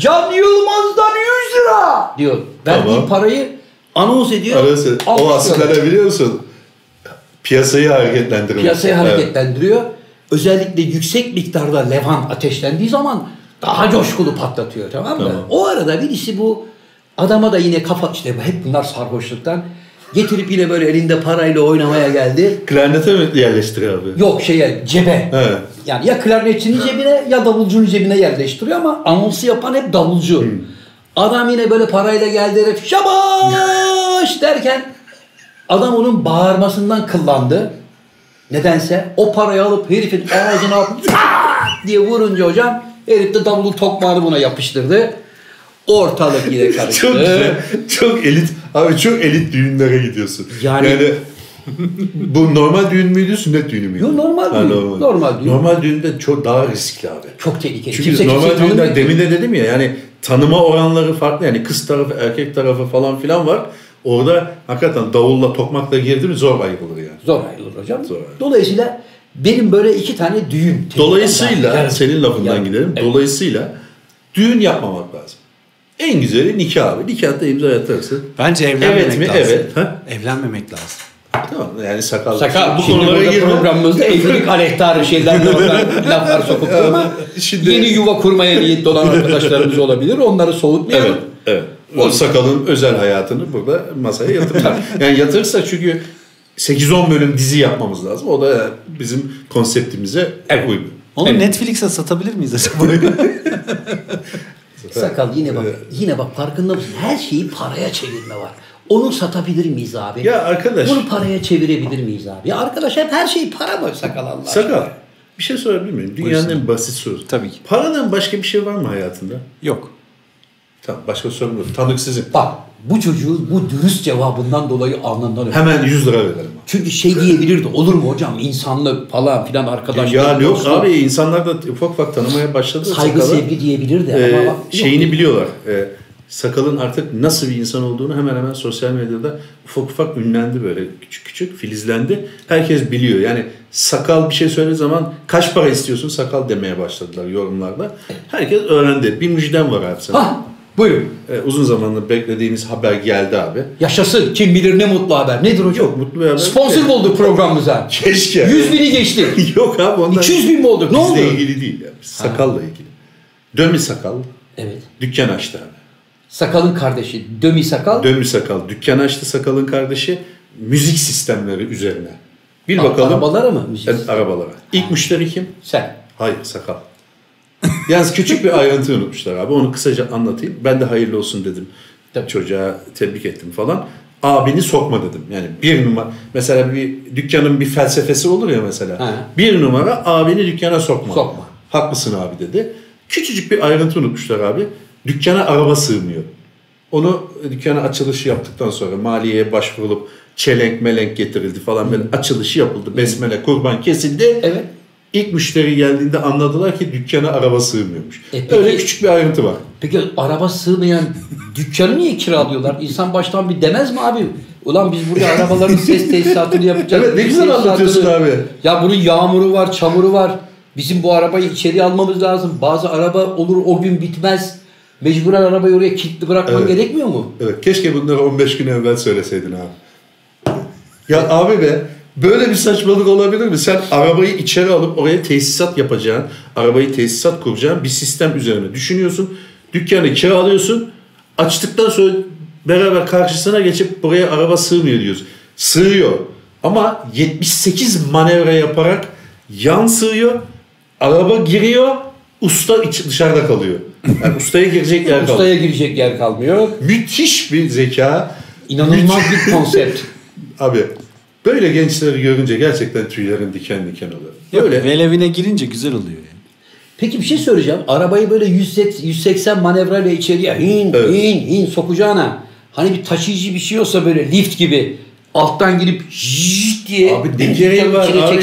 A: Can Yılmaz'dan 100 lira! Diyor. Verdiği
B: Tamam.
A: parayı anons ediyor.
B: Arası, o
A: alkışlıyorlar.
B: asıklara biliyor musun? Piyasayı hareketlendirmek.
A: Piyasayı
B: Evet.
A: hareketlendiriyor. Özellikle yüksek miktarda levan ateşlendiği zaman daha coşkulu patlatıyor tamam mı?
B: Tamam.
A: O arada birisi bu adama da yine kafa işte hep bunlar sarhoşluktan getirip yine böyle elinde parayla oynamaya geldi.
B: Klarnete mi yerleştiriyor abi?
A: Yok şeye cebe.
B: Evet.
A: Yani ya klarnetçinin cebine ya davulcunun cebine yerleştiriyor ama anonsu yapan hep davulcu.
B: Hmm.
A: Adam yine böyle parayla geldi herif
B: [LAUGHS]
A: şabaş derken adam onun bağırmasından kıllandı. Nedense o parayı alıp herifin ağzına atıp [LAUGHS] "Aa!" diye vurunca hocam herif de davulun tokmağını buna yapıştırdı. Ortalık yine karıştı.
B: [LAUGHS] Çok güzel. Çok elit. Abi çok elit düğünlere gidiyorsun.
A: Yani-
B: Yani, bu normal düğün müydü, sünnet düğünü müydü?
A: Yo, normal
B: Ha,
A: düğün. Normal düğün.
B: Normal düğünde çok daha riskli abi.
A: Çok tehlikeli.
B: Çünkü
A: Kimse
B: normal
A: kimseyi
B: düğünden
A: tanımıyor.
B: demin de dedim ya yani tanıma oranları farklı. Yani kız tarafı, erkek tarafı falan filan var. Orada hakikaten davulla, tokmakla girdi mi zor ayıp olur yani.
A: Zor ayrılır hocam.
B: Zor ayrılır.
A: Dolayısıyla benim böyle iki tane düğün.
B: Dolayısıyla
A: Yani-
B: senin lafından
A: Yani-
B: gidelim. Dolayısıyla düğün yapmamak lazım. En güzeli nikah abi. Nikahta imza atarsın.
C: Bence evlenmemek
B: Evet mi?
C: lazım.
B: Evet. Ha?
C: Evlenmemek lazım.
B: Tamam yani sakal.
A: Sakal.
B: bu
A: Şimdi
B: konulara
A: burada
B: girme.
A: programımızda evlilik aleyhtarı şeyler
B: [LAUGHS]
A: laflar, laflar sokup durma.
B: Şimdi-
A: Yeni yuva kurmaya niyetli olan arkadaşlarımız olabilir. Onları soğutmayalım.
B: Evet. Evet. O sakalın özel hayatını burada masaya yatırırlar. yani yatırırsa çünkü 8-10 bölüm dizi yapmamız lazım. O da bizim konseptimize uymuyor.
C: Onu
D: Evet.
C: Netflix'e satabilir miyiz acaba?
A: Sakal yine bak yine bak farkında mısın? Her şeyi paraya çevirme var. Onu satabilir miyiz abi?
B: Ya arkadaş.
A: Bunu paraya çevirebilir miyiz abi? Ya arkadaş hep her şeyi para mı sakal Allah? aşkına?
B: Sakal. Bir şey sorabilir miyim? Dünyanın en basit sorusu.
C: Tabii ki.
B: Paradan başka bir şey var mı hayatında?
C: [LAUGHS] Yok.
B: Tamam başka sorum yok. Tanık sizin.
A: Bak bu çocuğun bu dürüst cevabından dolayı alnından öper.
B: Hemen 100 lira verelim.
A: Çünkü şey diyebilirdi olur mu hocam insanlık falan filan arkadaşlar.
B: Ya yok
A: dostluk,
B: abi insanlar da ufak ufak tanımaya başladı.
A: Saygı
B: Sakalı,
A: sevgi diyebilirdi
B: e,
A: ama bak, yok.
B: şeyini biliyorlar. E, sakalın artık nasıl bir insan olduğunu hemen hemen sosyal medyada ufak ufak ünlendi böyle küçük küçük filizlendi. Herkes biliyor. Yani sakal bir şey söylediği zaman kaç para istiyorsun sakal demeye başladılar yorumlarda. Herkes öğrendi. Bir müjdem var abi sana.
A: Hah buyurun.
B: E, uzun zamandır beklediğimiz haber geldi abi.
A: Yaşasın. Kim bilir ne mutlu haber. Nedir hocam?
B: Yok, mutlu bir haber.
A: Sponsor mu olduk programımıza.
B: [LAUGHS] Keşke.
A: 100 bini geçti.
B: Yok abi onlar
A: 200 bin mi olduk? Ne oldu?
B: Bizle ilgili değil. Yani. Sakalla ilgili. Dömi sakal
A: Evet.
B: dükkan açtı abi.
A: Sakalın kardeşi Dömi Sakal.
B: Dönmüş sakal. Dükkan açtı sakalın kardeşi. Müzik sistemleri üzerine. Bir
A: A-
B: bakalım.
A: Arabalara mı? Müzik?
B: Evet, arabalara. İlk müşteri kim?
A: Sen.
B: Hayır sakal. Yalnız küçük bir ayrıntı unutmuşlar abi. Onu kısaca anlatayım. Ben de hayırlı olsun dedim.
A: Tabii.
B: Çocuğa tebrik ettim falan. Abini sokma dedim. Yani bir numara. Mesela bir dükkanın bir felsefesi olur ya mesela.
A: Ha.
B: Bir numara abini dükkana sokma.
A: Sokma.
B: Haklısın abi dedi. Küçücük bir ayrıntı unutmuşlar abi. Dükkana araba sığmıyor. Onu dükkana açılışı yaptıktan sonra maliyeye başvurulup çelenk melenk getirildi falan böyle açılışı yapıldı. Besmele kurban kesildi.
A: Evet.
B: İlk müşteri geldiğinde anladılar ki dükkana araba sığmıyormuş.
A: E peki-
B: Öyle küçük bir ayrıntı var.
A: Peki araba sığmayan dükkanı niye kiralıyorlar? İnsan baştan bir demez mi abi? Ulan biz buraya arabaların ses tesisatını yapacağız.
B: Evet, ne güzel
A: Tesisatını-
B: anlatıyorsun abi.
A: Ya bunun yağmuru var, çamuru var. Bizim bu arabayı içeri almamız lazım. Bazı araba olur o gün bitmez. Mecburen arabayı oraya kilitli bırakman
B: Evet.
A: gerekmiyor mu?
B: Evet, keşke bunları 15 gün evvel söyleseydin abi. Ya abi be böyle bir saçmalık olabilir mi? Sen arabayı içeri alıp oraya tesisat yapacağın, arabayı tesisat kuracağın bir sistem üzerine düşünüyorsun. Dükkanı kiralıyorsun. Açtıktan sonra beraber karşısına geçip buraya araba sığmıyor diyorsun. Sığıyor. Ama 78 manevra yaparak yan sığıyor. Araba giriyor. Usta iç- dışarıda kalıyor. Yani ustaya girecek yer kalmıyor.
A: Ustaya girecek yer kalmıyor.
B: Müthiş bir zeka.
A: İnanılmaz
B: [LAUGHS]
A: bir konsept.
B: Abi böyle gençleri görünce gerçekten tüylerim diken diken oluyor.
C: Böyle.
B: Böyle
C: Velevine girince güzel oluyor. Yani.
A: Peki bir şey söyleyeceğim. Arabayı böyle 180, 180 manevrayla içeriye hin
B: Evet.
A: hin hin sokacağına hani bir taşıyıcı bir şey olsa böyle lift gibi alttan girip jjjt diye
B: abi ne gereği
A: dükkanın
B: var
A: içine
B: abi?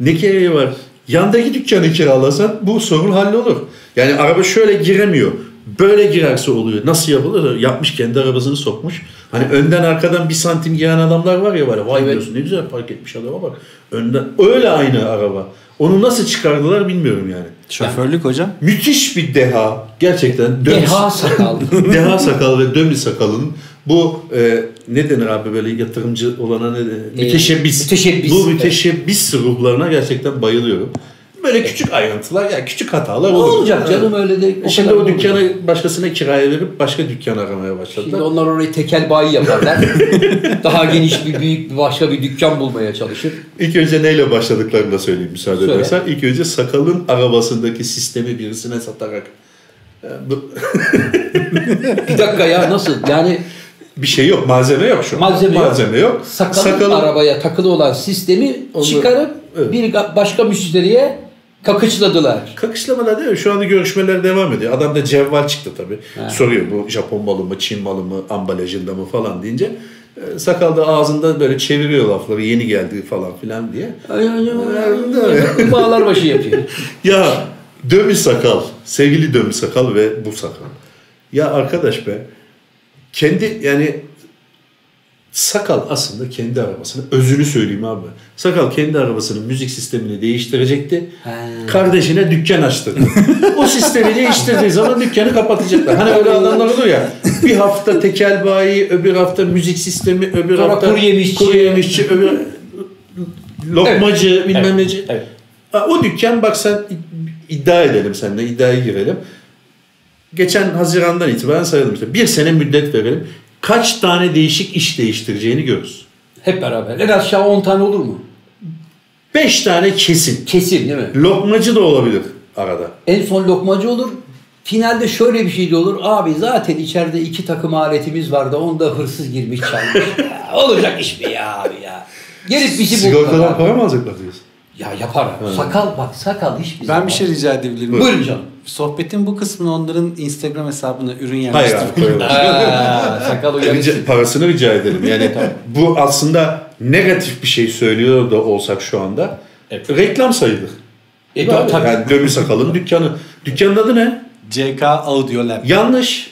B: Ne gereği var? Yandaki dükkanı kiralasan bu sorun hallolur. Yani araba şöyle giremiyor. Böyle girerse oluyor. Nasıl yapılır? Yapmış kendi arabasını sokmuş. Hani önden arkadan bir santim giren adamlar var ya böyle. Vay
A: Evet.
B: diyorsun ne güzel park etmiş adama bak. Önden öyle aynı araba. Onu nasıl çıkardılar bilmiyorum yani.
C: Şoförlük hocam.
B: Müthiş bir deha. Gerçekten dönüş-
A: Deha sakal.
B: [LAUGHS] Deha sakal ve dömli sakalın bu e, ne denir abi böyle yatırımcı olana ne denir? Müteşebbis.
A: E, müteşebbis,
B: Bu
A: evet.
B: müteşebbis ruhlarına gerçekten bayılıyorum. Böyle küçük ayrıntılar ya küçük hatalar
A: ne
B: olur.
A: olacak canım öyle de.
B: E Şimdi
A: kadar
B: o
A: olacak.
B: dükkanı başkasına kiraya verip başka dükkan aramaya başladılar.
A: Şimdi onlar orayı tekel bayi [LAUGHS] yaparlar. Daha geniş bir büyük bir başka bir dükkan bulmaya çalışır.
B: İlk önce neyle başladıklarını da söyleyeyim müsaade
A: Söyle.
B: edersen. İlk önce sakalın arabasındaki sistemi birisine satarak e, bu-
A: Bir dakika ya nasıl? Yani
B: bir şey yok malzeme yok şu an.
A: Malzeme yok.
B: yok.
A: sakalın, arabaya takılı olan sistemi
B: Onu-
A: çıkarıp
B: Evet.
A: bir ga- başka müşteriye kakıçladılar.
B: Kakışlamalar değil mi? Şu anda görüşmeler devam ediyor. Adam da cevval çıktı tabii. Soruyor bu Japon malı mı, Çin malı mı, ambalajında mı falan deyince. e, Sakal da ağzında böyle çeviriyor lafları yeni geldi falan filan diye.
A: Ay, ay, ay, ay. Bağlar başı yapıyor.
B: Ya dömi sakal, sevgili dömi sakal ve bu sakal. Ya arkadaş be, kendi yani sakal aslında kendi arabasını, özünü söyleyeyim abi. Sakal kendi arabasının müzik sistemini değiştirecekti.
A: He.
B: Kardeşine dükkan açtırdı. o sistemi değiştirdiği zaman dükkanı kapatacaklar. Hani öyle adamlar olur ya. Bir hafta tekel bayi, öbür hafta müzik sistemi, öbür
A: Sonra
B: hafta
A: kuru yemişçi.
B: kuru yemişçi, öbür lokmacı, bilmem
A: Evet,
B: neci.
A: evet.
B: Ha, O dükkan bak sen iddia edelim seninle iddiaya girelim. Geçen Haziran'dan itibaren sayalım işte. Bir sene müddet verelim. Kaç tane değişik iş değiştireceğini görürüz.
A: Hep beraber. En aşağı 10 tane olur mu?
B: Beş tane kesin.
A: Kesin değil mi?
B: Lokmacı da olabilir arada.
A: En son lokmacı olur. Finalde şöyle bir şey de olur. Abi zaten içeride iki takım aletimiz vardı. Onda hırsız girmiş [LAUGHS] çalmış. Ya, Olacak iş mi ya abi ya? Gelip bizi
B: Sigortadan
A: buldular. abi.
B: para mı alacaklar diyorsun?
A: Ya yapar. Sakal bak sakal hiç bize.
C: Ben bir şey rica edebilir miyim?
A: Buyurun canım.
C: Sohbetin bu kısmını onların Instagram hesabına ürün
B: Hayır
C: yerleştirmek.
B: abi
C: [LAUGHS]
B: koyalım.
A: Ee, Aa, sakal uyarıcı.
B: [LAUGHS] Rica- parasını rica edelim. Yani bu aslında negatif bir şey söylüyor da olsak şu anda.
A: Evet.
B: Reklam sayılır.
A: E, tabii, tabii.
B: Yani Dömü Sakal'ın dükkanı. Dükkanın adı ne?
C: CK Audio Lab.
B: Yanlış.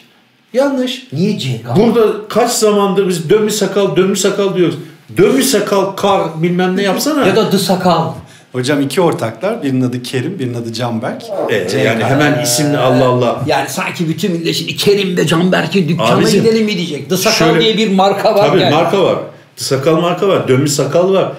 B: Yanlış.
A: Niye CK?
B: Burada kaç zamandır biz dömü sakal dömü sakal diyoruz. Dömü sakal kar bilmem ne yapsana.
A: Ya da dı sakal.
C: Hocam iki ortaklar. Birinin adı Kerim, birinin adı Canberk.
B: Ee,
C: CK.
B: yani hemen isimle Allah Allah.
A: Yani sanki bütün millet şimdi Kerim ve Canberk'in dükkanına
B: Abicim,
A: gidelim mi diyecek. The Sakal
B: şöyle-
A: diye bir marka var
B: Tabii
A: yani.
B: marka var. Sakal marka var. Dömü sakal var.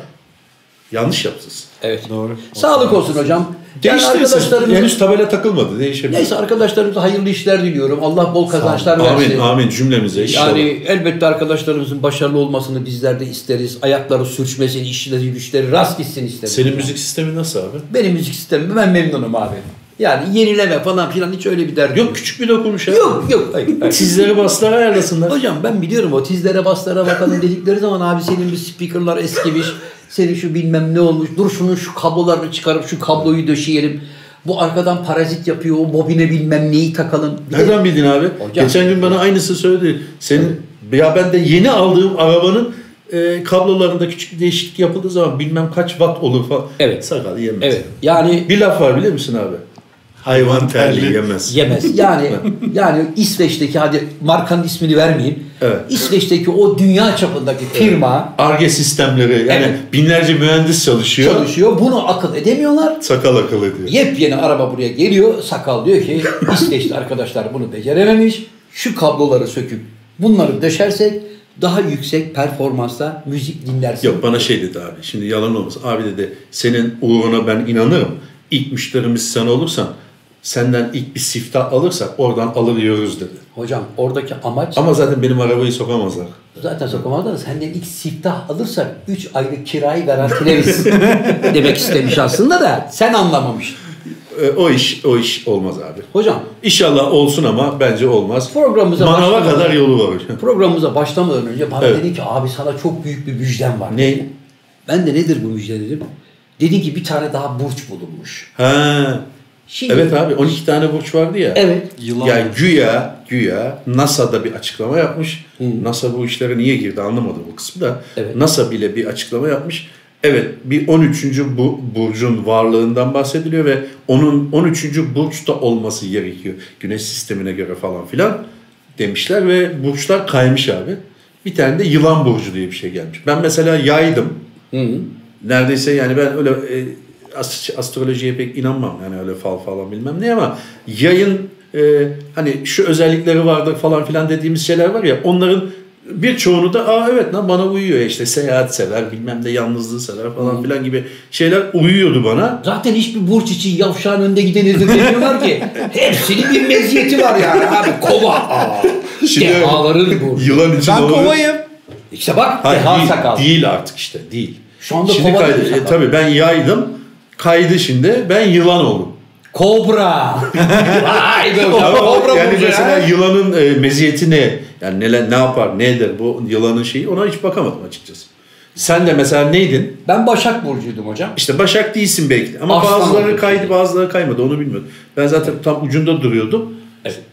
B: Yanlış yapsınız.
A: Evet.
C: Doğru.
A: Sağlık olsun hocam. Yani
B: Değiştirirsin.
A: arkadaşlarımız
B: Henüz tabela takılmadı. Değişebilir.
A: Neyse arkadaşlarımıza hayırlı işler diliyorum. Allah bol kazançlar versin.
B: Amin amin cümlemize inşallah.
A: şey- Yani elbette arkadaşlarımızın başarılı olmasını bizler de isteriz. Ayakları sürçmesin, işleri güçleri rast gitsin isteriz.
B: Senin müzik sistemi nasıl abi?
A: Benim müzik sistemim ben memnunum abi. Yani yenileme falan filan hiç öyle bir derdi
B: Yok küçük bir dokunmuş ya.
A: Yok yok. Hayır, hayır.
B: Sizleri baslar ayarlasınlar.
A: Hocam ben biliyorum o tizlere baslara bakalım dedikleri zaman abi senin bir speakerlar eskimiş. Senin şu bilmem ne olmuş. Dur şunun şu kablolarını çıkarıp şu kabloyu döşeyelim. Bu arkadan parazit yapıyor. O bobine bilmem neyi takalım. Bir de-
B: Nereden bildin abi?
A: Hocam-
B: Geçen gün bana aynısı söyledi. Senin ya ben de yeni aldığım arabanın e, kablolarında küçük bir değişiklik yapıldığı zaman bilmem kaç watt olur falan.
A: Evet.
B: Sakal yemez.
A: Evet. Yani
B: Bir laf var biliyor musun abi? Hayvan terli yemez. [LAUGHS]
A: yemez. Yani yani İsveç'teki hadi markanın ismini vermeyeyim.
B: Evet.
A: İsveç'teki o dünya çapındaki firma
B: Arge sistemleri yani
A: Evet.
B: binlerce mühendis çalışıyor.
A: çalışıyor. Bunu akıl edemiyorlar.
B: Sakal akıl ediyor.
A: Yepyeni araba buraya geliyor. Sakal diyor ki İsveçli arkadaşlar bunu becerememiş. Şu kabloları söküp bunları döşersek daha yüksek performansta müzik dinlersin.
B: Yok bana şey dedi abi şimdi yalan olmasın. Abi dedi senin uğruna ben inanırım. İlk müşterimiz sen olursan senden ilk bir siftah alırsak oradan alıyoruz dedi.
A: Hocam oradaki amaç
B: Ama zaten benim arabayı sokamazlar.
A: zaten sokamazlar. Senden ilk siftah alırsak 3 aylık kirayı
B: [LAUGHS]
A: garantileriz. demek istemiş aslında da sen anlamamış.
B: E, o iş o iş olmaz abi.
A: Hocam
B: İnşallah olsun ama bence olmaz.
A: Programımıza
B: Manava
A: başlayalım.
B: kadar yolu var hocam.
A: programımıza başlamadan önce bana
B: Evet.
A: dedi ki abi sana çok büyük bir müjdem var.
B: Ne?
A: Ben de nedir bu müjde dedim. Dedi ki bir tane daha burç bulunmuş.
B: Ha.
A: Şimdi,
B: Evet abi 12 tane burç vardı ya.
A: Evet.
C: Yılan.
B: Yani güya, güya NASA'da bir açıklama yapmış. NASA bu işlere niye girdi anlamadım bu kısmı da.
A: Evet.
B: NASA bile bir açıklama yapmış. Evet bir 13. bu, burcun varlığından bahsediliyor ve onun 13. burçta olması gerekiyor. Güneş sistemine göre falan filan demişler ve burçlar kaymış abi. Bir tane de yılan burcu diye bir şey gelmiş. Ben mesela yaydım. Neredeyse yani ben öyle e, as- astrolojiye pek inanmam. Yani öyle fal falan bilmem ne ama yayın e, hani şu özellikleri vardır falan filan dediğimiz şeyler var ya onların birçoğunu da aa evet lan bana uyuyor işte seyahat sever bilmem de yalnızlığı sever
A: Hmm.
B: falan filan gibi şeyler uyuyordu bana.
A: Zaten hiçbir burç için yavşağın önde giden izin demiyorlar ki.
B: [LAUGHS]
A: Hepsinin bir meziyeti var yani abi. Kova. Aa,
B: Şimdi-
A: dehaların burcu.
B: [LAUGHS] Yılan için
C: Ben
B: doğru-
C: kovayım.
A: İşte bak
B: Hayır,
A: deha
B: değil,
A: sakal.
B: değil artık işte değil.
A: Şu anda
B: şimdi
A: kovada
B: kaydı,
A: bir
B: e,
A: sakal.
B: tabii ben yaydım kaydı şimdi ben yılan oldum. [LAUGHS]
A: Kobra. Vay be hocam.
B: Ama o-
A: Kobra
B: yani
A: burcu
B: mesela
A: ya.
B: yılanın e, meziyeti ne? Yani neler, ne yapar, ne eder bu yılanın şeyi ona hiç bakamadım açıkçası. Sen de mesela neydin?
A: Ben Başak Burcu'ydum hocam.
B: İşte Başak değilsin belki ama
A: Aslan
B: bazıları
A: oldu.
B: kaydı bazıları kaymadı onu bilmiyorum. Ben zaten tam ucunda duruyordum.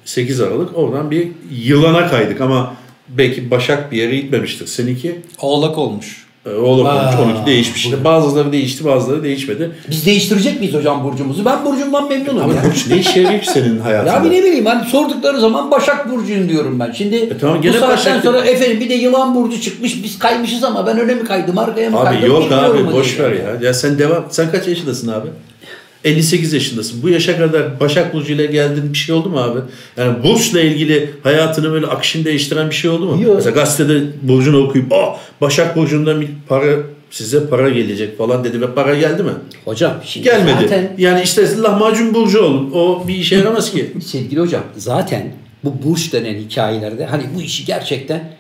B: 8 Aralık oradan bir yılana kaydık ama belki Başak bir yere gitmemiştir. Seninki
C: Oğlak olmuş.
B: e, oğlum
A: Aa,
B: 12 değişmişti. Bazıları değişti bazıları değişmedi.
A: Biz değiştirecek miyiz hocam burcumuzu? Ben burcumdan memnunum. ya.
B: Burç ne işe yarıyor ki senin hayatında?
A: Ya bir ne bileyim hani sordukları zaman Başak Burcu'yum diyorum ben. Şimdi
B: E tamam,
A: bu
B: gene
A: saatten
B: Başak-
A: sonra efendim bir de Yılan Burcu çıkmış biz kaymışız ama ben öne mi kaydım arkaya mı kaydım
B: Abi yok
A: bilmiyorum
B: abi
A: hani.
B: boş ver ya. Ya sen devam. Sen kaç yaşındasın abi? 58 yaşındasın. Bu yaşa kadar Başak Burcu ile geldin bir şey oldu mu abi? Yani Burç'la ilgili hayatını böyle akışını değiştiren bir şey oldu mu?
A: Yok.
B: Mesela gazetede Burcu'nu okuyup Aa, Başak Burcu'ndan bir para size para gelecek falan dedi ve para geldi mi?
A: Hocam şimdi
B: Gelmedi.
A: zaten
B: Yani işte lahmacun Burcu olun. O bir işe
A: [LAUGHS]
B: yaramaz ki.
A: sevgili hocam zaten bu burç denen hikayelerde hani bu işi gerçekten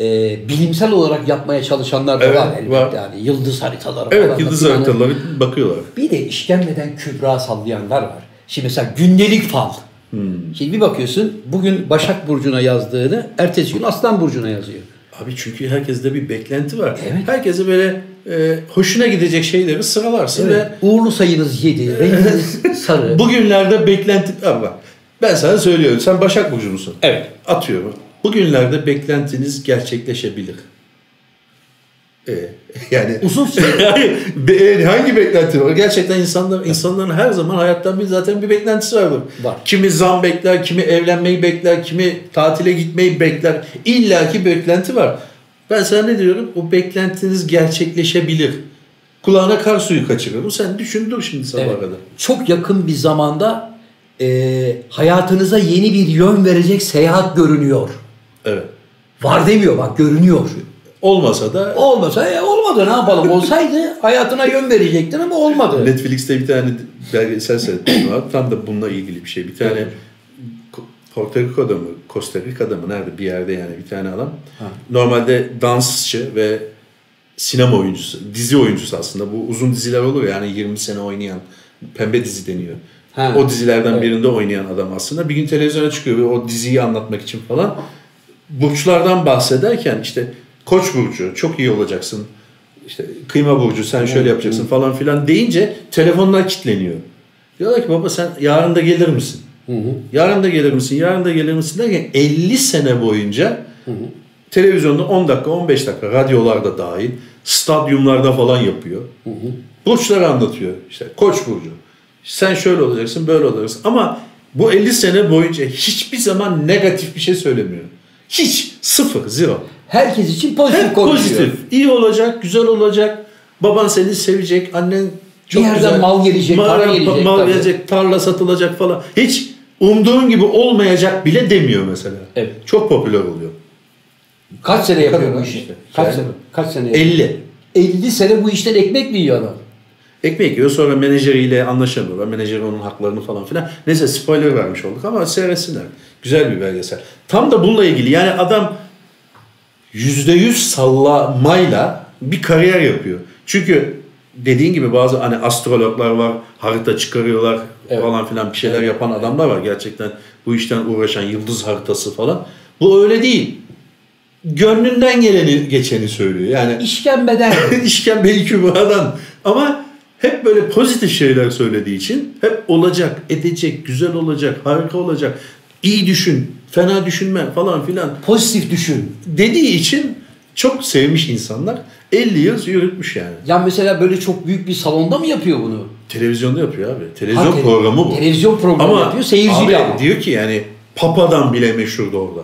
A: e, bilimsel olarak yapmaya çalışanlar da
B: Evet,
A: var elbette.
B: var.
A: Yani yıldız haritaları
B: Evet
A: falan da
B: yıldız
A: filan.
B: haritaları bakıyorlar.
A: Bir de işkembeden kübra sallayanlar var. Şimdi mesela gündelik fal.
B: Hmm.
A: Şimdi bir bakıyorsun bugün Başak Burcu'na yazdığını ertesi gün Aslan Burcu'na yazıyor.
B: Abi çünkü herkeste bir beklenti var.
A: Evet.
B: Herkese böyle e, hoşuna gidecek şeyleri sıralarsın ve
A: Uğurlu sayınız 7, renginiz
B: [LAUGHS]
A: sarı.
B: Bugünlerde beklenti... Abi bak, ben sana söylüyorum. Sen Başak Burcu musun?
A: Evet.
B: Atıyorum. Bugünlerde beklentiniz gerçekleşebilir. Ee, [LAUGHS] yani...
A: Uzun
B: [LAUGHS]
A: süre.
B: Hayır, be- e, hangi beklenti var? Gerçekten insanlar, insanların her zaman hayattan bir zaten bir beklentisi vardır.
A: Var.
B: Kimi zam bekler, kimi evlenmeyi bekler, kimi tatile gitmeyi bekler. İlla ki beklenti var. Ben sana ne diyorum? O beklentiniz gerçekleşebilir. Kulağına kar suyu kaçırıyorum. Sen düşün dur şimdi sabaha
A: Evet.
B: kadar.
A: Çok yakın bir zamanda e, hayatınıza yeni bir yön verecek seyahat görünüyor.
B: Evet.
A: Var demiyor bak görünüyor.
B: Olmasa da
A: Olmasa e, olmadı ne yapalım olsaydı hayatına yön verecektin ama olmadı.
B: Netflix'te bir tane belgesel seyrettim abi. Tam da bununla ilgili bir şey. Bir tane Ko- Porto Rico'da mı, Costa Rica'da mı nerede bir yerde yani bir tane adam. Normalde dansçı ve sinema oyuncusu, dizi oyuncusu aslında. Bu uzun diziler olur ya, yani 20 sene oynayan pembe dizi deniyor.
A: Ha.
B: O dizilerden birinde oynayan adam aslında. Bir gün televizyona çıkıyor ve o diziyi anlatmak için falan. Burçlardan bahsederken işte Koç burcu çok iyi olacaksın. İşte kıyma burcu sen şöyle yapacaksın falan filan deyince telefonlar kilitleniyor. Diyorlar ki baba sen yarın da gelir misin? Yarın da gelir misin? Yarın da gelir misin derken 50 sene boyunca televizyonda 10 dakika 15 dakika radyolarda dahil stadyumlarda falan yapıyor. Burçları anlatıyor. İşte Koç burcu. Sen şöyle olacaksın, böyle olacaksın. Ama bu 50 sene boyunca hiçbir zaman negatif bir şey söylemiyor. Hiç. Sıfır. Zero.
A: Herkes için pozitif
B: Hep
A: konuşuyor.
B: pozitif. İyi olacak, güzel olacak. Baban seni sevecek, annen çok
A: yerden
B: güzel.
A: mal gelecek,
B: mal,
A: para gelecek
B: mal
A: tabii.
B: gelecek, tarla satılacak falan. Hiç umduğun gibi olmayacak bile demiyor mesela.
A: Evet.
B: Çok popüler oluyor.
A: Kaç sene yapıyor bu
B: Kadınlar
A: işi?
B: işte.
A: Kaç
B: Yani
A: sene? Kaç sene? yapıyor?
B: 50.
A: 50 sene bu işten ekmek mi yiyor adam?
B: Ekmek yiyor sonra menajeriyle anlaşamıyorlar. Menajeri onun haklarını falan filan. Neyse spoiler vermiş olduk ama seyretsinler. Güzel bir belgesel. Tam da bununla ilgili yani adam %100 sallamayla bir kariyer yapıyor. Çünkü dediğin gibi bazı hani astrologlar var, harita çıkarıyorlar
A: Evet.
B: falan filan bir şeyler yapan adamlar var. Gerçekten bu işten uğraşan yıldız haritası falan. Bu öyle değil. Gönlünden geleni geçeni söylüyor. Yani [LAUGHS]
A: İşkembeden.
B: İşkembe-i Kübra'dan. Ama hep böyle pozitif şeyler söylediği için hep olacak, edecek, güzel olacak, harika olacak, iyi düşün, fena düşünme falan filan
A: pozitif düşün.
B: dediği için çok sevmiş insanlar. 50 yıl yürütmüş yani.
A: Ya mesela böyle çok büyük bir salonda mı yapıyor bunu?
B: Televizyonda yapıyor abi. Televizyon
A: Ha, te-
B: programı bu.
A: Televizyon programı yapıyor. Seyirciyle
B: abi
A: ama.
B: diyor ki yani Papa'dan bile meşhurdu orada.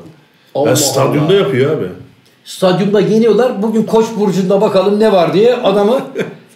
A: Allah
B: ben stadyumda
A: Allah.
B: yapıyor abi.
A: Stadyumda geliyorlar. Bugün Koç burcunda bakalım ne var diye adamı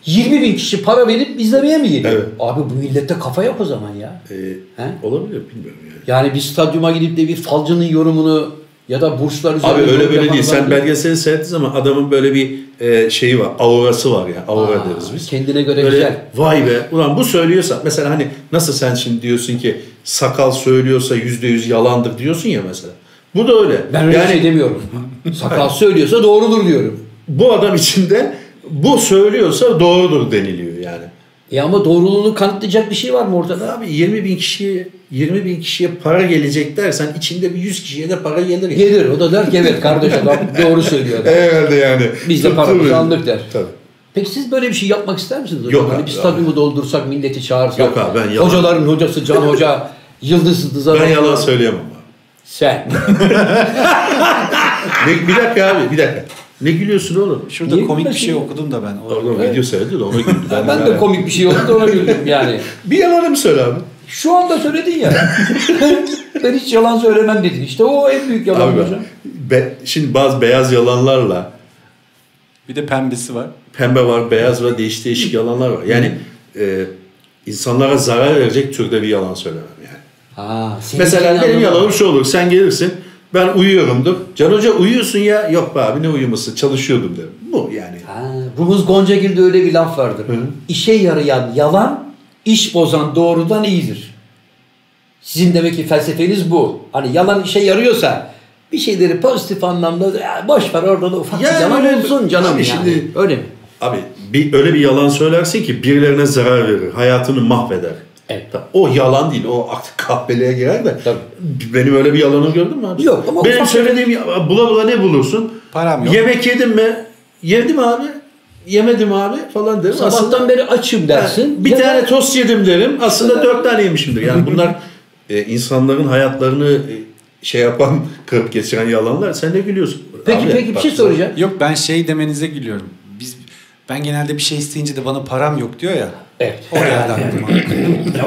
A: 20 bin kişi para verip izlemeye mi geliyor?
B: Evet.
A: Abi bu millette kafa yok o zaman ya.
B: Ee,
A: He?
B: olabilir bilmiyorum yani.
A: Yani bir stadyuma gidip de bir falcının yorumunu ya da burçlar üzerine
B: Abi öyle
A: yorum
B: böyle
A: yapan
B: değil. Sen
A: adam
B: belgeseli seyrettiğin zaman adamın böyle bir e, şeyi var. Aurası var ya. Aura
A: Aa,
B: deriz biz.
A: kendine göre
B: Böyle,
A: güzel.
B: Vay be. Ulan bu söylüyorsa. Mesela hani nasıl sen şimdi diyorsun ki sakal söylüyorsa yüzde yüz yalandır diyorsun ya mesela. Bu da öyle.
A: Ben öyle
B: yani
A: şey demiyorum.
B: [LAUGHS]
A: Sakal söylüyorsa doğrudur diyorum.
B: bu adam içinde bu söylüyorsa doğrudur deniliyor yani.
A: E ama doğruluğunu kanıtlayacak bir şey var mı ortada?
B: Abi 20 bin kişiye 20 bin kişiye para gelecek dersen içinde bir 100 kişiye de para gelir. Yani.
A: Gelir o da der ki evet kardeş adam doğru söylüyor.
B: Herhalde yani.
A: Biz de paramızı
B: Tabii.
A: aldık der.
B: Tabii.
A: Peki siz böyle bir şey yapmak ister misiniz hocam?
B: Yok
A: hani
B: abi,
A: bir stadyumu doldursak, milleti çağırsak.
B: Yok abi, ben yalan-
A: Hocaların hocası
B: [LAUGHS]
A: Can Hoca, Yıldız Yıldız'a.
B: Ben yalan söyleyemem abi.
A: Sen.
B: Ne, bir dakika abi bir dakika. Ne gülüyorsun oğlum?
C: Şurada
A: Niye
C: komik bir
A: gülmesin
C: şey
A: ya?
C: okudum da ben. O-
B: Oğlum video seyrediyor da ona güldü.
A: [LAUGHS] ben, de komik bir şey oldu da ona güldüm yani.
B: Bir yalanım söyle abi.
A: Şu anda söyledin ya.
B: [LAUGHS]
A: ben hiç yalan söylemem dedin. İşte o en büyük yalan
B: Abi
A: hocam.
B: bak, be- şimdi bazı beyaz yalanlarla
C: Bir de pembesi var.
B: pembe var, beyaz var, değişik değişik yalanlar var. Yani e, insanlara zarar verecek türde bir yalan söylemem yani.
A: Ha, senin
B: Mesela
A: için
B: benim
A: anlamam.
B: yalanım şu olur. Sen gelirsin. Ben uyuyorumdur. Can Hoca uyuyorsun ya. Yok be abi ne uyuması çalışıyordum derim. Bu yani.
A: Ha, Rumuz Goncagil'de öyle bir laf vardır. İşe yarayan yalan, iş bozan doğrudan iyidir. Sizin demek ki felsefeniz bu. Hani yalan işe yarıyorsa bir şeyleri pozitif anlamda ya boş ver orada da ufak
B: Yani
A: bir yalan
B: öyle-
A: olsun canım yani.
B: Abi şimdi-
A: öyle mi?
B: Abi bir, öyle bir yalan söylersin ki birilerine zarar verir. Hayatını mahveder.
A: Evet.
B: Ta- O yalan değil. O artık kahpeliğe girer de.
A: Tabii.
B: Benim öyle bir yalanım gördün mü abi?
A: Yok ama
B: Benim
A: ufak
B: söylediğim ya- bula bula ne bulursun?
C: Param yok.
B: Yemek yedin mi? Yedim abi. Yemedim abi falan derim.
A: Sabahtan beri açım dersin.
B: bir
A: ya da-
B: tane tost yedim derim. Aslında dört tane yemişimdir. Yani bunlar e, insanların hayatlarını e, şey yapan, kırıp geçiren yalanlar. Sen de gülüyorsun.
A: Peki
B: Abi,
A: peki bir
B: bak-
A: şey soracağım.
C: Yok ben şey demenize gülüyorum. Biz ben genelde bir şey isteyince de bana param yok diyor ya.
A: Evet.
C: O geldi aklıma.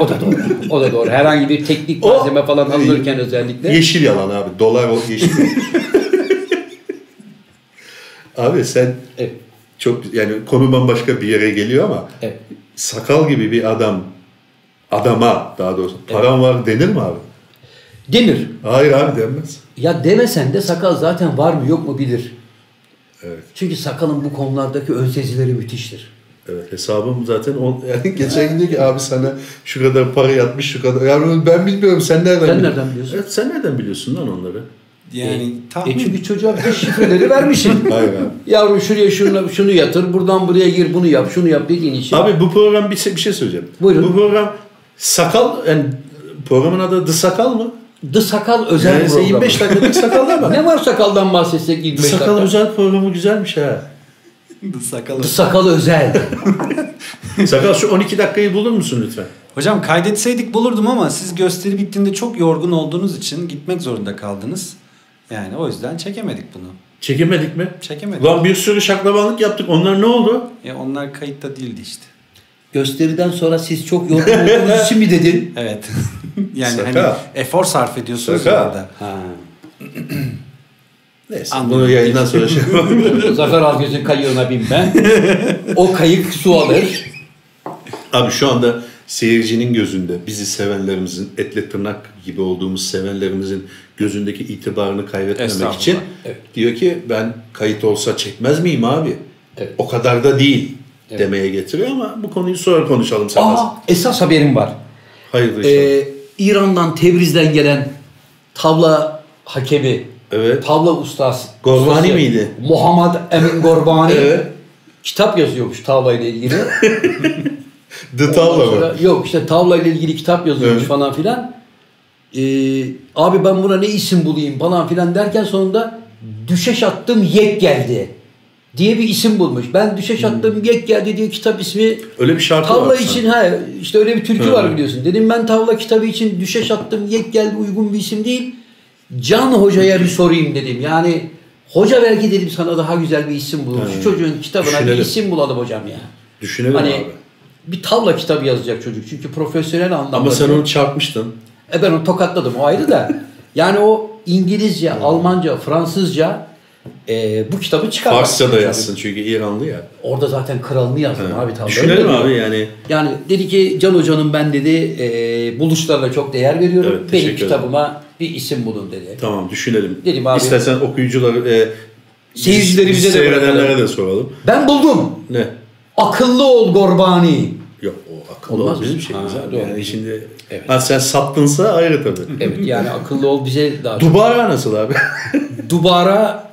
A: [LAUGHS] o da doğru. O da doğru. Herhangi bir teknik
B: O- Ee,
A: malzeme falan alınırken özellikle.
B: Yeşil yalan abi. Dolar o yeşil.
A: [LAUGHS]
B: abi sen
A: Evet.
B: çok yani konu bambaşka bir yere geliyor ama
A: Evet.
B: sakal gibi bir adam adama daha doğrusu param var denir mi abi?
A: Denir.
B: Hayır abi denmez.
A: Ya demesen de sakal zaten var mı yok mu bilir.
B: Evet.
A: Çünkü sakalın bu konulardaki ön sezileri müthiştir.
B: Evet hesabım zaten on, [LAUGHS] yani geçen gün ki abi sana şu kadar para yatmış şu kadar. Yani ben bilmiyorum sen nereden
A: Sen nereden biliyorsun?
B: Evet, sen nereden biliyorsun lan onları?
C: Yani tahmin.
A: E çünkü çocuğa bir [LAUGHS] de şifreleri [LAUGHS] vermişsin.
B: Hayır abi.
A: Yavrum şuraya şunu, şunu yatır, buradan buraya gir, bunu yap, şunu yap dediğin için.
B: Abi bu program bir şey, bir şey söyleyeceğim.
A: Buyurun.
B: Bu program sakal yani programın adı The Sakal mı?
A: The Sakal özel
B: Yani sen
A: programı. [LAUGHS]
B: 25 dakikalık sakallar mı?
A: ne var sakaldan bahsetsek
B: The
A: 25
B: Sakal
A: dakika?
B: özel programı güzelmiş ha.
C: Sakalı.
A: The Sakal özel.
B: Sakal şu 12 dakikayı bulur musun lütfen?
C: Hocam kaydetseydik bulurdum ama siz gösteri bittiğinde çok yorgun olduğunuz için gitmek zorunda kaldınız. Yani o yüzden çekemedik bunu.
B: Çekemedik mi?
C: Çekemedik.
B: Lan bir sürü şaklabanlık yaptık. Onlar ne oldu?
C: E onlar kayıtta değildi işte.
A: Gösteriden sonra siz çok [LAUGHS] yorgun olduğunuz için mi dedin?
C: Evet. [LAUGHS] yani hani
B: Şaka.
C: efor sarf ediyorsunuz
B: Şaka.
C: orada.
A: Ha.
B: Neyse.
C: Anladım.
B: Bunu yayından sonra şey yapalım.
A: Zafer Algöz'ün kayığına binme. o kayık su alır.
B: [LAUGHS] Abi şu anda seyircinin gözünde bizi sevenlerimizin etle tırnak gibi olduğumuz sevenlerimizin gözündeki itibarını kaybetmemek
C: Estağfurullah.
B: için
A: Evet.
B: diyor ki ben kayıt olsa çekmez miyim abi?
A: Evet.
B: O kadar da değil
A: Evet.
B: demeye getiriyor ama bu konuyu sonra konuşalım
A: Aa,
B: sana.
A: esas haberim var.
B: Hayırlı işler.
A: Ee, İran'dan Tebriz'den gelen tavla hakemi,
B: Evet.
A: tavla ustası.
B: Gorbani
A: ustası,
B: miydi?
A: Muhammed Emin Gorbani.
B: [LAUGHS] Evet.
A: Kitap yazıyormuş tavla ile ilgili.
B: The [LAUGHS] Tavla
A: Ondan
B: mı?
A: sonra- Yok işte tavla ile ilgili kitap yazıyormuş
B: Evet.
A: falan filan. Ee, abi ben buna ne isim bulayım falan filan derken sonunda düşeş attım yek geldi diye bir isim bulmuş. Ben düşeş
B: Hmm.
A: attım yek geldi diye kitap ismi
B: Öyle bir şarkı
A: tavla
B: var.
A: için ha işte öyle bir türkü
B: Hı.
A: var biliyorsun. Dedim ben tavla kitabı için düşeş attım yek geldi uygun bir isim değil. Can Hoca'ya bir sorayım dedim. Yani hoca belki dedim sana daha güzel bir isim bulur. Şu
B: Hı.
A: çocuğun kitabına bir
B: Düşünelim.
A: isim bulalım hocam ya.
B: Düşünelim
A: Hani
B: abi.
A: bir tavla kitabı yazacak çocuk. Çünkü profesyonel anlamda.
B: Ama sen onu çarpmıştın.
A: E ben onu tokatladım o ayrı da.
B: [LAUGHS]
A: Yani o İngilizce,
B: Hmm.
A: Almanca, Fransızca e, bu kitabı çıkar.
B: Farsça da yazsın çünkü İranlı ya.
A: Orada zaten kralını yazdım abi tavla.
B: Düşünelim
A: Öyle
B: abi
A: diyor.
B: yani.
A: Yani dedi ki Can Hoca'nın ben dedi e, buluşlarına çok değer veriyorum.
B: Evet, teşekkür
A: Benim
B: ederim.
A: kitabıma bir isim bulun dedi.
B: Tamam düşünelim.
A: Dedim abi.
B: İstersen okuyucuları, e,
A: Seyircilerimize
B: bizi
A: de
B: seyredenlere
A: bırakalım.
B: de soralım.
A: Ben buldum.
B: Ne?
A: Akıllı ol Gorbani.
B: Yok o akıllı
A: Olmaz
B: ol bizim
A: mı?
B: şeyimiz
A: Ha,
B: abi.
A: doğru.
B: Yani şimdi
A: Evet.
B: ha, sen saptınsa ayrı tabii.
A: Evet yani akıllı ol bize daha çok.
B: Dubara nasıl abi? [LAUGHS]
A: Dubara,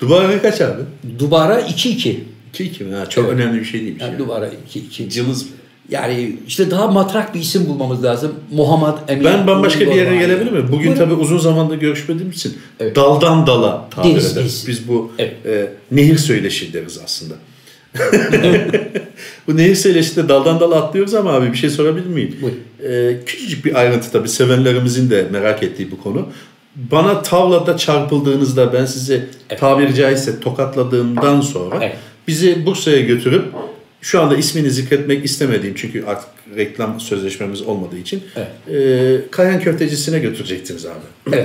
B: Dubara kaç abi?
A: Dubara 2-2.
B: 2-2 mi? Ha, çok
A: Evet.
B: önemli bir şey değilmiş.
A: Yani
B: Yani.
A: Dubara 2-2.
B: Cılız mı?
A: Yani işte daha matrak bir isim bulmamız lazım. Muhammed Emin.
B: Ben bambaşka bir yere
A: Gorbani.
B: gelebilir miyim? Bugün tabii uzun zamanda görüşmediğim için
A: Evet.
B: daldan dala tabir
A: Deniz,
B: ederiz.
A: deniz.
B: Biz bu
A: Evet.
B: e, nehir söyleşi deriz aslında. [LAUGHS] bu nehir söyleşinde daldan dala atlıyoruz ama abi bir şey sorabilir miyim?
A: Buyur.
B: E, küçücük bir ayrıntı tabii sevenlerimizin de merak ettiği bu konu. Bana tavlada çarpıldığınızda ben sizi tabiri caizse tokatladığımdan sonra
A: Evet.
B: bizi Bursa'ya götürüp şu anda ismini zikretmek istemediğim çünkü artık reklam sözleşmemiz olmadığı için e, Kayhan Köftecisi'ne götürecektiniz abi.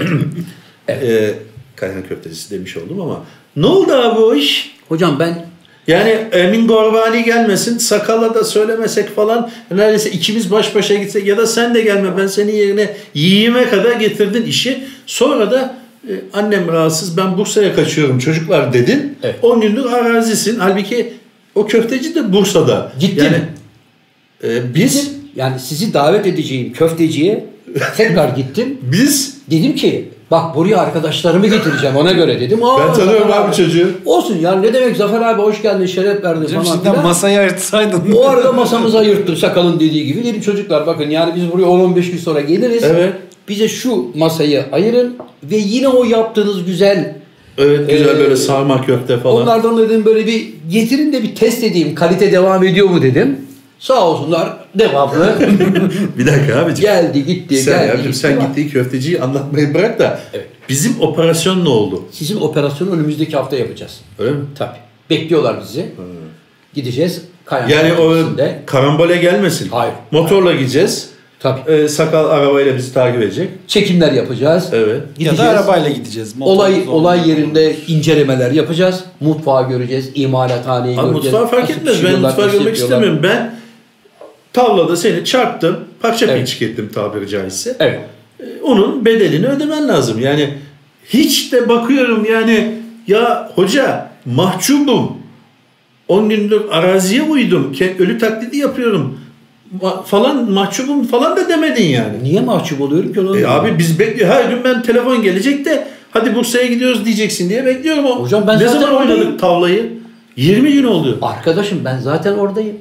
B: [CLEARS THROAT]
A: Evet.
B: E, Kayhan Köftecisi demiş oldum ama ne oldu abi o iş?
A: Hocam ben
B: Yani Emin Gorbani gelmesin, sakala da söylemesek falan neredeyse ikimiz baş başa gitsek ya da sen de gelme ben senin yerine yiğime kadar getirdin işi. Sonra da e, annem rahatsız ben Bursa'ya kaçıyorum çocuklar dedin.
A: Evet.
B: 10 günlük arazisin. Halbuki o köfteci de Bursa'da.
A: Gittim.
B: Yani, e, biz
A: yani sizi davet edeceğim
B: [LAUGHS]
A: köfteciye tekrar gittim.
B: biz
A: Dedim ki bak buraya arkadaşlarımı getireceğim ona göre dedim. Aa,
B: ben tanıyorum
A: Zafer
B: abi çocuğu.
A: Olsun yani ne demek Zafer abi hoş geldin şeref verdin
C: Hocam
A: falan
C: şimdiden
A: filan.
C: masayı ayırtsaydın.
A: o
C: [LAUGHS]
A: arada masamızı ayırttım sakalın dediği gibi. Dedim çocuklar bakın yani biz buraya 10-15 gün sonra geliriz.
B: Evet.
A: Bize şu masayı ayırın ve yine o yaptığınız güzel
B: Evet güzel
A: Ee,
B: böyle sarma köfte falan.
A: Onlardan dedim böyle bir getirin de bir test edeyim kalite devam ediyor mu dedim. Sağ olsunlar
B: [LAUGHS]
A: devamlı
B: [LAUGHS] Bir dakika abicim.
A: geldi gitti
B: sen
A: geldi
B: abicim,
A: gitti.
B: sen
A: Ama
B: gittiği köfteciyi anlatmayı bırak da
A: Evet.
B: bizim operasyon ne oldu?
A: Sizin operasyonu önümüzdeki hafta yapacağız.
B: Öyle mi?
A: Tabii. Bekliyorlar bizi. Gideceğiz. Kayan
B: Hmm. Yani o
A: Köprüsü'nde.
B: karambole gelmesin.
A: Hayır.
B: Motorla gideceğiz.
A: Tabii.
B: Ee, sakal arabayla bizi takip edecek.
A: Çekimler yapacağız.
B: Evet.
C: ya
A: Gideceğiz.
C: da arabayla gideceğiz. Motor
A: olay
C: zorunda olur.
A: olay yerinde incelemeler yapacağız. Mutfağı göreceğiz. imalathaneyi
B: Abi
A: göreceğiz.
B: mutfağı fark
A: Nasıl
B: etmez. Ben
A: pişiriyorlar,
B: mutfağı
A: nasıl
B: görmek
A: şey yapıyorlar.
B: istemiyorum. Ben tavlada seni çarptım. Parça
A: Evet.
B: pinçik ettim tabiri caizse.
A: Evet.
B: Ee, Onun bedelini ödemen lazım. Yani hiç de bakıyorum yani ya hoca mahcubum. 10 günlük araziye uydum. Ke- Ölü taklidi yapıyorum. Ma- falan mahcubum falan da demedin yani.
A: Niye mahcup oluyorum ki?
B: E abi biz bekliyor. Her gün ben telefon gelecek de hadi Bursa'ya gidiyoruz diyeceksin diye bekliyorum. O-
A: Hocam ben
B: ne
A: zaten
B: zaman oynadık
A: oradayım.
B: tavlayı? 20 gün oldu.
A: Arkadaşım ben zaten oradayım.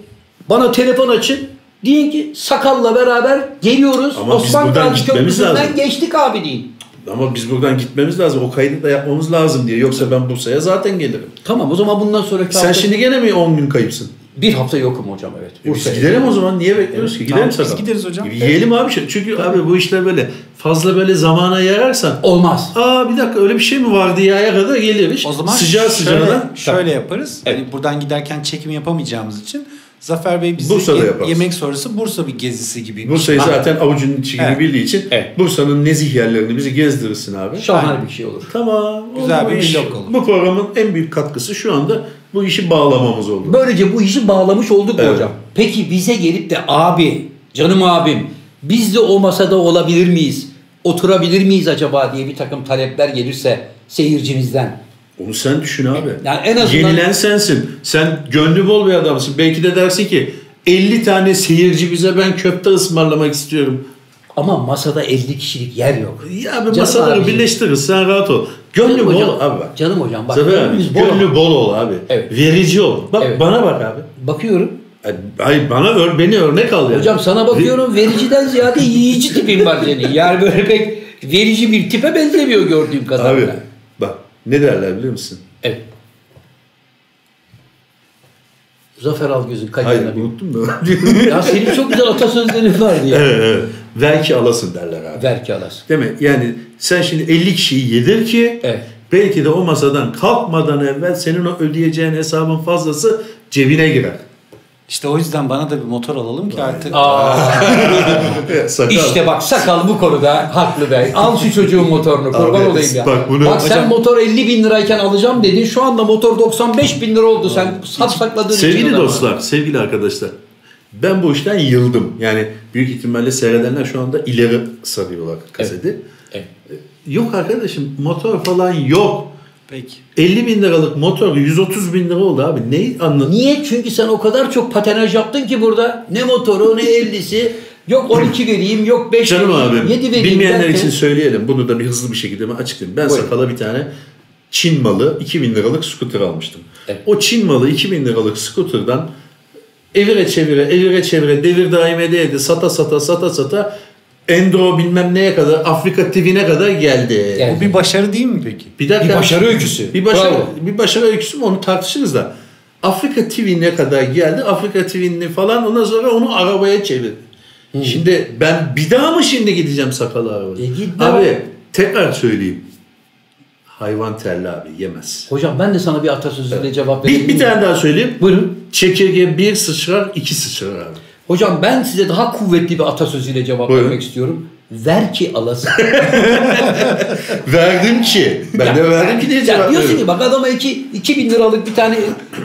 A: Bana telefon açın. Deyin ki sakalla beraber geliyoruz.
B: Ama biz
A: Osman
B: buradan
A: Gazi
B: gitmemiz
A: Köprüsü'nden
B: lazım.
A: geçtik abi deyin.
B: Ama biz buradan gitmemiz lazım. O kaydı da yapmamız lazım diye. Yoksa ben Bursa'ya zaten gelirim.
A: Tamam o zaman bundan sonra
B: Sen şimdi gene mi 10 gün kayıpsın?
A: Bir hafta yokum hocam evet.
B: E Biz gidelim o zaman. Niye bekliyoruz ki? Gidelim
C: Tamam, biz
B: sakın.
C: gideriz hocam.
B: Yiyelim abi. şey- Çünkü abi bu işler böyle fazla böyle zamana yayarsan
A: Olmaz.
B: aa bir dakika öyle bir şey mi vardı ya kadar gelir iş.
C: O zaman
B: sıcağı
C: şöyle,
B: sıcağına
C: şöyle yaparız.
A: Evet.
C: Hani buradan giderken çekim yapamayacağımız için Zafer Bey bize
B: Bursa'da
C: ye-
B: yaparız.
C: yemek sonrası Bursa bir gezisi gibi.
B: Bursa'yı
A: Ha.
B: zaten avucunun içi gibi
C: Evet.
B: bildiği için
A: Ah. Evet.
B: Bursa'nın nezih yerlerini bizi gezdirirsin abi.
A: Şahane bir şey olur.
B: Tamam.
C: Güzel
B: oldu
C: bir
B: bu iş.
C: vlog olur.
B: Bu programın en büyük katkısı şu anda bu işi bağlamamız oldu.
A: Böylece bu işi bağlamış olduk mu
B: Evet.
A: hocam. Peki bize gelip de abi, canım abim biz de o masada olabilir miyiz? Oturabilir miyiz acaba diye bir takım talepler gelirse seyircimizden.
B: Onu sen düşün abi.
A: Yani en azından-
B: Yenilen sensin. Sen gönlü bol bir adamsın. Belki de dersin ki 50 tane seyirci bize ben köfte ısmarlamak istiyorum.
A: Ama masada 50 kişilik yer yok.
B: Ya
A: Canım
B: bir masaları
A: abi.
B: birleştiririz sen rahat ol. Gönlü
A: Canım
B: bol
A: hocam,
B: abi bak.
A: Canım hocam bak.
B: Zafer abi,
A: gönlümüz bol ama-
B: gönlü bol ol abi.
A: Evet.
B: Verici ol. Bak
A: Evet.
B: bana bak abi.
A: Bakıyorum.
B: Ay bana ör, beni örnek al yani.
A: Hocam sana bakıyorum vericiden ziyade yiyici tipin var
B: [LAUGHS]
A: senin. Yani böyle pek verici bir tipe benzemiyor gördüğüm kadarıyla.
B: Abi bak ne derler biliyor musun?
A: Evet. Zafer Algöz'ün
B: Hayır
A: kaderine bir...
B: unuttum da.
A: Ya senin çok güzel atasözlerin vardı ya.
B: [LAUGHS] evet, evet. Ver ki alasın derler abi.
A: Ver ki alasın.
B: Değil mi? Yani sen şimdi 50 kişiyi yedir ki
A: Evet.
B: belki de o masadan kalkmadan evvel senin o ödeyeceğin hesabın fazlası cebine girer.
C: İşte o yüzden bana da bir motor alalım ki artık
A: Aa, [LAUGHS]
B: [LAUGHS] Sakal.
A: işte bak sakal bu konuda haklı be. Al şu çocuğun motorunu kurban
B: Abi,
A: olayım ya.
B: bak bunu-
A: sen motor 50 bin lirayken alacağım dedin. Şu anda motor 95 bin lira oldu. Sen sat sakladığın için.
B: Sevgili
A: adamı.
B: dostlar, sevgili arkadaşlar. Ben bu işten yıldım. Yani büyük ihtimalle seyredenler şu anda ileri sarıyorlar kaseti.
A: Evet.
B: Yok arkadaşım motor falan yok.
C: peki.
B: 50 bin liralık motor 130 bin lira oldu abi. Neyi anladın?
A: Niye? Çünkü sen o kadar çok patenaj yaptın ki burada. Ne motoru ne 50'si. Yok 12 vereyim, yok 5
B: Canım
A: vereyim,
B: abim,
A: 7 vereyim.
B: bilmeyenler
A: derken-
B: için söyleyelim. Bunu da bir hızlı bir şekilde ben açıklayayım. Ben
A: Buyurun.
B: sakala bir tane Çin malı 2000 liralık scooter almıştım.
A: Evet.
B: O Çin malı 2000 liralık scooter'dan evire çevire, evire çevire, devir daim ede ede, sata sata, sata sata, endro bilmem neye kadar, Afrika TV'ne kadar geldi.
A: Geldi.
C: Bu bir başarı değil mi peki?
B: Bir dakika.
A: Bir başarı öyküsü.
B: Bir başarı,
A: Bravo.
B: bir başarı öyküsü mü onu tartışırız da. Afrika TV'ne kadar geldi. Afrika TV'ni falan ondan sonra onu arabaya çevirdi. Şimdi ben bir daha mı şimdi gideceğim sakalı arabaya?
A: Hmm. E git
B: abi
A: devam.
B: tekrar söyleyeyim. Hayvan terli abi yemez.
A: Hocam ben de sana bir atasözüyle cevap vereyim.
B: Bir, bir tane daha söyleyeyim.
A: Buyurun.
B: Çekirge bir sıçrar iki sıçrar abi.
A: Hocam ben size daha kuvvetli bir atasözüyle cevap
B: Buyurun.
A: vermek istiyorum. Ver ki alasın.
B: Verdim ki. Ben de verdim ki diye
A: ya
B: cevap
A: diyorsun
B: veriyorum.
A: ki bak adama 2 2000 liralık bir tane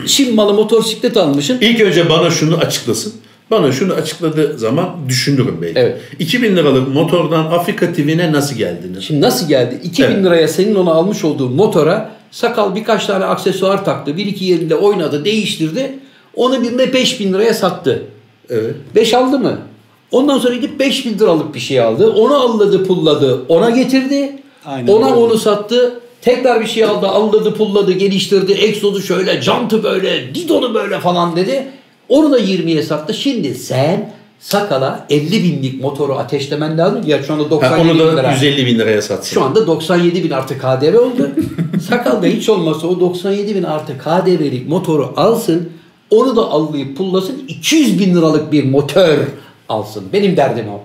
A: Çin malı motosiklet almışsın.
B: İlk önce bana şunu açıklasın. Bana şunu açıkladığı zaman düşünürüm belki.
A: Evet.
B: 2000 liralık motordan Afrika TV'ne nasıl geldiniz?
A: Şimdi nasıl geldi? 2000
B: Evet.
A: liraya senin ona almış olduğun motora sakal birkaç tane aksesuar taktı. Bir iki yerinde oynadı, değiştirdi. Onu birine 5000 liraya sattı.
B: Evet.
A: 5 aldı mı? Ondan sonra gidip 5000 liralık bir şey aldı. Onu alladı, pulladı. Ona getirdi.
C: Aynen
A: ona
C: öyle.
A: onu sattı. Tekrar bir şey aldı, alladı, pulladı, geliştirdi. Exod'u şöyle, Jant'ı böyle, Dido'nu böyle falan dedi. Onu da 20'ye sattı. Şimdi sen sakala 50 binlik motoru ateşlemen lazım. Ya şu anda
B: Ha,
A: 97
B: onu
A: bin lira.
B: da 150 bin liraya satsın.
A: Şu anda 97 bin artı KDV oldu.
B: [LAUGHS]
A: Sakal da hiç olmazsa o 97 bin artı KDV'lik motoru alsın. Onu da allayıp pullasın. 200 bin liralık bir motor alsın. Benim derdim o.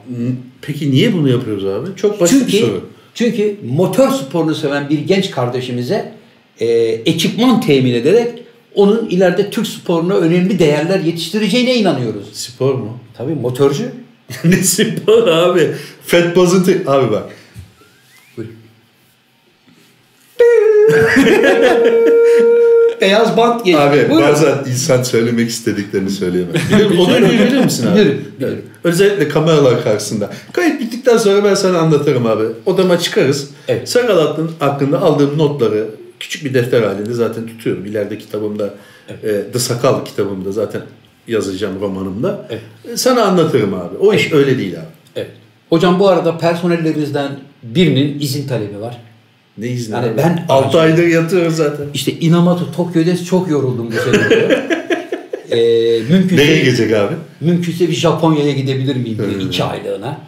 B: Peki niye bunu yapıyoruz abi? Çok Hmm. basit bir
A: Çünkü,
B: soru.
A: çünkü motor sporunu seven bir genç kardeşimize e, ekipman temin ederek onun ileride Türk sporuna önemli değerler yetiştireceğine inanıyoruz.
B: Spor [LAUGHS] mu?
A: Tabii motorcu.
B: ne spor abi? Fetbaz'ın te- Abi bak.
A: [LAUGHS] Beyaz bant geliyor.
B: Abi
A: Buyurun.
B: bazen insan söylemek istediklerini söyleyemez. Bilir, o dönemi bilir misin abi?
A: Bilirim, bilirim.
B: Özellikle kameralar karşısında. Kayıt bittikten sonra ben sana anlatırım abi. Odama çıkarız.
A: Evet.
B: Sakal hakkın- hakkında aldığım notları küçük bir defter halinde zaten tutuyorum. İleride kitabımda e, The Sakal kitabımda zaten yazacağım romanımda. E, Sana anlatırım abi. O iş öyle değil abi.
A: Evet. Hocam bu arada personellerinizden birinin izin talebi var.
B: Ne izni?
A: Yani
B: abi?
A: ben-
B: Altı aydır yatıyoruz zaten.
A: İşte Inamoto Tokyo'da çok yoruldum bu sene.
B: [LAUGHS]
A: diyor. ee,
B: Nereye Ee.
A: mümkünse,
B: gelecek abi?
A: mümkünse bir Japonya'ya gidebilir miyim diyor iki aylığına.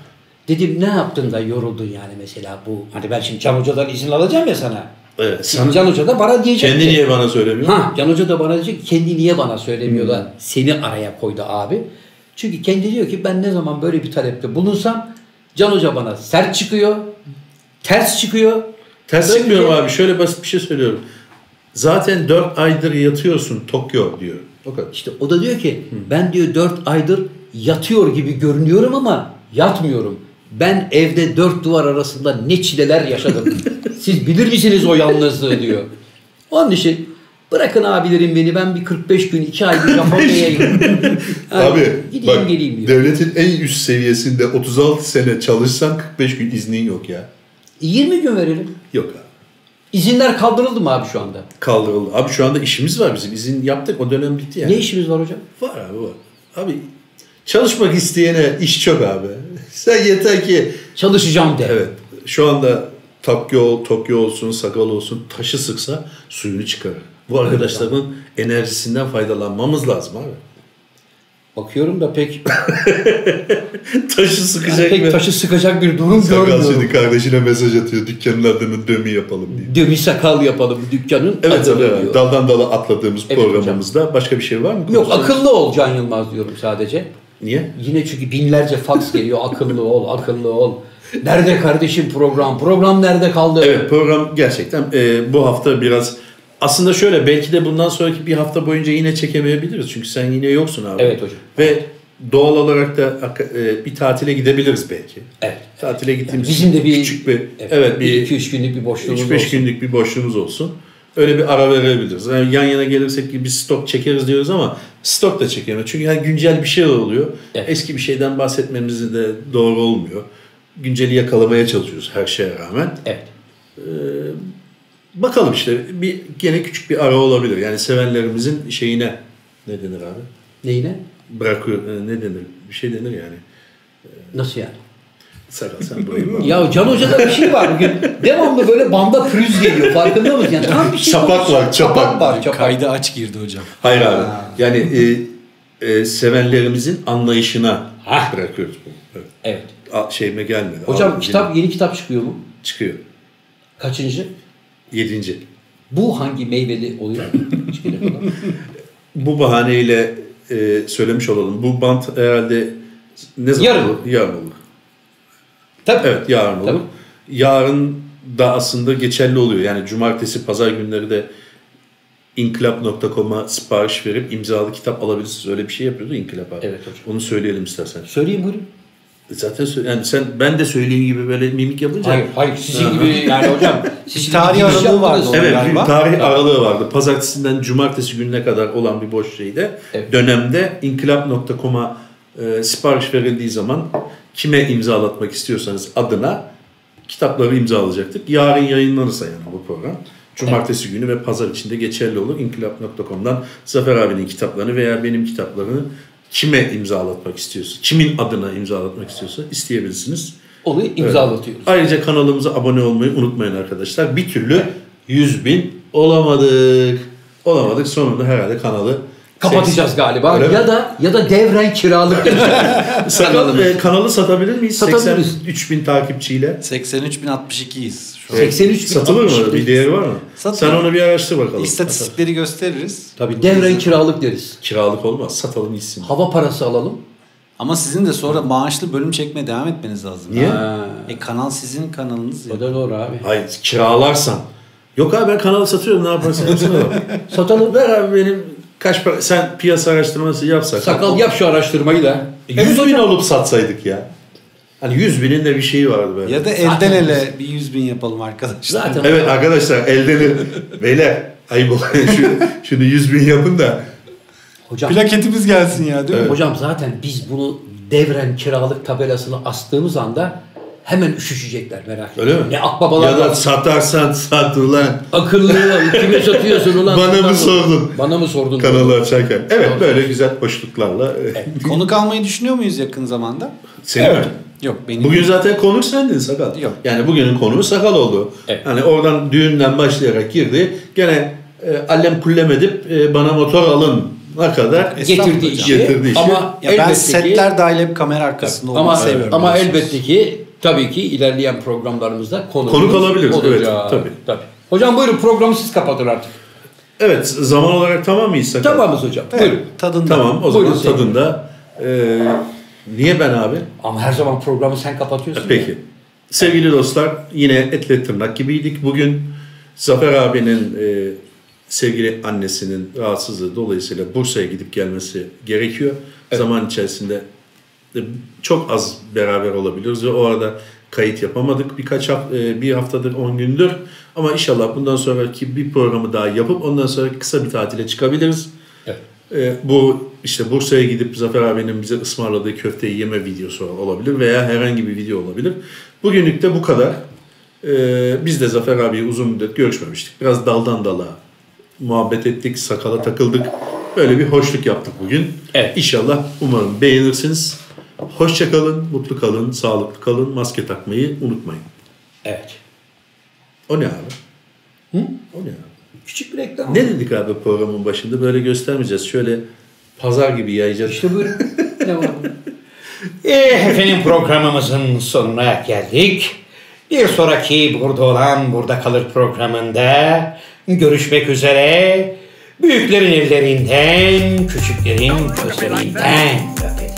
A: Dedim ne yaptın da yoruldun yani mesela bu. Hani ben şimdi Cam Hoca'dan izin alacağım ya sana.
B: Evet.
A: Can
B: Sen,
A: Hoca da bana diyecek.
B: kendi
A: ki-
B: niye bana söylemiyor? Hmm.
A: Ha Can Hoca da bana diyecek ki, kendi niye bana söylemiyor da seni araya koydu abi. Çünkü kendi diyor ki ben ne zaman böyle bir talepte bulunsam Can Hoca bana sert çıkıyor, ters çıkıyor.
B: Ters
A: Böyle
B: çıkmıyorum
A: bir-
B: abi. Şöyle basit bir şey söylüyorum. Zaten 4 aydır yatıyorsun Tokyo diyor. O kadar.
A: İşte o da diyor ki ben diyor 4 aydır yatıyor gibi görünüyorum ama yatmıyorum. Ben evde dört duvar arasında ne çileler
B: [LAUGHS]
A: yaşadım. Siz bilir misiniz o yalnızlığı diyor. Onun için bırakın abilerim beni ben bir 45 gün 2 ay bir Japonya'ya gideyim. Ha,
B: [LAUGHS] Abi
A: gideyim
B: bak,
A: geleyim diyor.
B: devletin en üst seviyesinde 36 sene çalışsan 45 gün iznin yok ya.
A: 20 E, gün verelim.
B: Yok abi.
A: İzinler kaldırıldı mı abi şu anda?
B: Kaldırıldı. Abi şu anda işimiz var bizim. İzin yaptık. O dönem bitti yani.
A: Ne işimiz var hocam?
B: Var abi var. Abi çalışmak isteyene iş çok abi. [LAUGHS] Sen yeter ki
A: Çalışacağım de.
B: evet şu anda Tokyo, Tokyo olsun, Sakal olsun taşı sıksa suyunu çıkarır. Bu arkadaşların enerjisinden faydalanmamız lazım abi. [LAUGHS]
A: Bakıyorum da pek,
B: taşı sıkacak ve
A: pek taşı sıkacak bir durum
B: Sakal
A: görmüyorum.
B: şimdi kardeşine mesaj atıyor. Dükkanın adını dömi yapalım diye.
A: Demi sakal yapalım dükkanın
B: Evet
A: adını
B: tabii. evet.
A: diyor.
B: Daldan dala atladığımız
A: Evet hocam.
B: programımızda başka bir şey var mı?
A: Yok
B: Konuşalım.
A: akıllı ol Can Yılmaz diyorum sadece.
B: Niye?
A: Yine çünkü binlerce faks geliyor akıllı ol akıllı ol. Nerede kardeşim program? Program nerede kaldı?
B: Evet program gerçekten e, bu hafta biraz aslında şöyle belki de bundan sonraki bir hafta boyunca yine çekemeyebiliriz. Çünkü sen yine yoksun abi.
A: Evet hocam.
B: Ve doğal olarak da ak- e, bir tatile gidebiliriz belki.
A: Evet.
B: Tatile gittiğimiz
A: Bizim de bir
B: küçük bir
A: evet,
B: evet, bir
A: 2 3 günlük bir boşluğumuz
B: 3-5
A: olsun.
B: günlük bir boşluğumuz olsun. Öyle bir ara verebiliriz. Yani yan yana gelirsek ki bir stok çekeriz diyoruz ama stok da çekemeyiz. Çünkü yani güncel bir şey oluyor.
A: Evet.
B: Eski bir şeyden bahsetmemiz de doğru olmuyor. Günceli yakalamaya çalışıyoruz her şeye rağmen. Ee,
A: Evet.
B: Bakalım işte bir gene küçük bir ara olabilir. Yani sevenlerimizin şeyine ne denir abi?
A: Neyine?
B: Bırakıyor e, ne denir? Bir şey denir yani.
A: Nasıl yani?
B: Sakal sen burayı bağla.
A: Ya Can Hoca'da bir şey var
B: [LAUGHS]
A: bugün. Devamlı böyle banda pürüz geliyor. Farkında mısın? Yani tam bir şey
B: Çapak
A: konuşuyor.
B: var, çapak.
A: Çapak var, çapak.
C: Kaydı aç girdi hocam.
B: Hayır abi. Yani e, e, sevenlerimizin anlayışına
A: Hah.
B: bırakıyoruz bunu. Evet.
A: Evet.
B: A- şeyime gelmedi.
A: Hocam
B: Ağzım
A: kitap yeni kitap çıkıyor mu?
B: dilim- çıkıyor.
A: Kaçıncı?
B: Yedinci.
A: Bu hangi meyveli oluyor?
B: [LAUGHS]
A: Çıkıyor falan.
B: Bu bahaneyle e, söylemiş olalım. Bu bant herhalde ne zaman
A: Yarın.
B: olur? Yarın olur.
A: Tabii.
B: Evet yarın olur.
A: Tamam.
B: Yarın da aslında geçerli oluyor. Yani cumartesi, pazar günleri de inkılap.com'a sipariş verip imzalı kitap alabilirsiniz. Öyle bir şey yapıyordu inkılap abi.
A: Evet hocam.
B: Onu söyleyelim istersen.
A: Söyleyeyim buyurun.
B: Zaten sö- yani sen ben de söyleyeyim gibi böyle mimik yapınca.
A: Hayır, hayır sizin gibi yani hocam. Sizin gibi şey
C: Tarih
A: giriş
C: aralığı vardı
A: yaptınız.
C: onun.
B: Evet,
C: galiba.
B: bir tarih aralığı vardı. Pazartesinden cumartesi gününe kadar olan bir boş şeyde
A: Evet.
B: dönemde inkılap.com'a e, sipariş verildiği zaman kime imzalatmak istiyorsanız adına kitapları imzalayacaktık. Yarın yayınlanırsa yani bu program. Cumartesi günü ve pazar içinde geçerli olur. İnkılap.com'dan Zafer abinin kitaplarını veya benim kitaplarını kime imzalatmak istiyorsa, kimin adına imzalatmak istiyorsa isteyebilirsiniz.
A: Onu imzalatıyoruz.
B: Ayrıca kanalımıza abone olmayı unutmayın arkadaşlar. Bir türlü 100 bin olamadık. Olamadık. Sonunda herhalde kanalı
A: Kapatacağız galiba.
B: Öyle mi?
A: ya da ya da devren kiralık
B: [LAUGHS]
A: yapacağız.
B: Sakal,
A: Kanalımız.
B: e, kanalı satabilir miyiz?
A: Satabiliriz.
B: 83 bin takipçiyle.
C: 83.062'yiz şu an.
A: 83 bin
B: Satılır mı?
A: 63 bin.
B: Bir değeri var mı?
C: Satılır.
B: Sen onu bir araştır bakalım.
C: İstatistikleri gösteririz.
A: Tabii devren kiralık deriz.
B: Kiralık olmaz. Satalım gitsin.
A: Hava parası alalım.
C: Ama sizin de sonra maaşlı bölüm çekmeye devam etmeniz lazım.
B: Niye?
A: Ha,
C: E kanal sizin kanalınız ya.
A: o da doğru abi.
B: Hayır kiralarsan. Yok abi ben kanalı satıyorum ne yaparsan yapsana.
A: Satalım.
B: Ver abi benim kaç para... Sen piyasa araştırması yapsak.
A: Sakal yap şu araştırmayı da.
B: 100 bin olup satsaydık ya. Hani 100 binin de bir şeyi vardı böyle.
C: Ya da
A: Zaten-
C: elden ele bir 100 bin yapalım arkadaşlar.
A: Zaten
B: Evet arkadaşlar elden beyler ayıp oluyor. [LAUGHS] Şu, şunu 100 bin yapın da.
A: hocam,
C: Plaketimiz gelsin ya değil mi?
A: hocam zaten biz bunu devren kiralık tabelasını astığımız anda hemen üşüşecekler merak etme.
B: Öyle mi?
A: Ne akbabalar
B: Ya da
A: var.
B: satarsan sat ulan
A: Akıllı kime satıyorsun ulan?
B: Bana mı
A: Ulan,
B: sordun?
A: Bana mı sordun?
B: kanalı açarken. Evet böyle güzel hoşluklarla. [LAUGHS]
C: Konuk almayı düşünüyor muyuz yakın zamanda?
B: Seni
A: Evet.
B: mi?
C: Yok benim.
B: Bugün zaten konuk sendin sakal.
C: Yok.
B: Yani bugünün konuğu sakal oldu.
A: Evet.
B: Hani oradan düğünden başlayarak girdi. Gene e, allem kullem edip e, bana motor alın ne kadar
A: Getirdi
C: Estağfurullah
A: işi.
B: hocam. Getirdi işi.
A: Ama
C: ya ben
A: elbette ki-
C: setler dahil hep kamera arkasında olmayı
A: Ama
C: seviyorum.
A: ama
C: biliyorsunuz.
A: elbette ki tabii ki ilerleyen programlarımızda konu
B: Konuk alabiliriz, evet, tabii.
A: tabii. Hocam buyurun programı siz kapatın artık.
B: Evet zaman olarak tamam mıyız Sakar?
A: Tamamız hocam.
C: Evet,
A: Buyurun.
C: Tadında.
B: Tamam o zaman
A: Buyurun sevgili.
B: tadında. Ee, niye ben abi?
A: Ama her zaman programı sen kapatıyorsun.
B: Peki. Sevgili dostlar yine etle tırnak gibiydik. Bugün Zafer abinin e, sevgili annesinin rahatsızlığı dolayısıyla Bursa'ya gidip gelmesi gerekiyor. Zaman içerisinde e, çok az beraber olabiliyoruz ve o arada kayıt yapamadık. Birkaç hafta, bir haftadır 10 gündür ama inşallah bundan sonraki bir programı daha yapıp ondan sonra kısa bir tatile çıkabiliriz.
A: Evet.
B: E, bu işte Bursa'ya gidip Zafer abinin bize ısmarladığı köfteyi yeme videosu olabilir veya herhangi bir video olabilir. Bugünlük de bu kadar. E, biz de Zafer abiyi uzun müddet görüşmemiştik. Biraz daldan dala muhabbet ettik, sakala takıldık. Böyle bir hoşluk yaptık bugün.
A: Evet.
B: İnşallah umarım beğenirsiniz. Hoşça kalın, mutlu kalın, sağlıklı kalın. Maske takmayı unutmayın.
A: Evet.
B: O ne abi? O ne abi?
A: Küçük bir reklam.
B: Ne dedik abi programın başında? Böyle göstermeyeceğiz. Şöyle pazar gibi yayacağız.
A: İşte [LAUGHS] buyurun. ne var? Eh, efendim programımızın sonuna geldik. Bir sonraki burada olan Burada Kalır programında görüşmek üzere. Büyüklerin ellerinden, küçüklerin gözlerinden öpelim.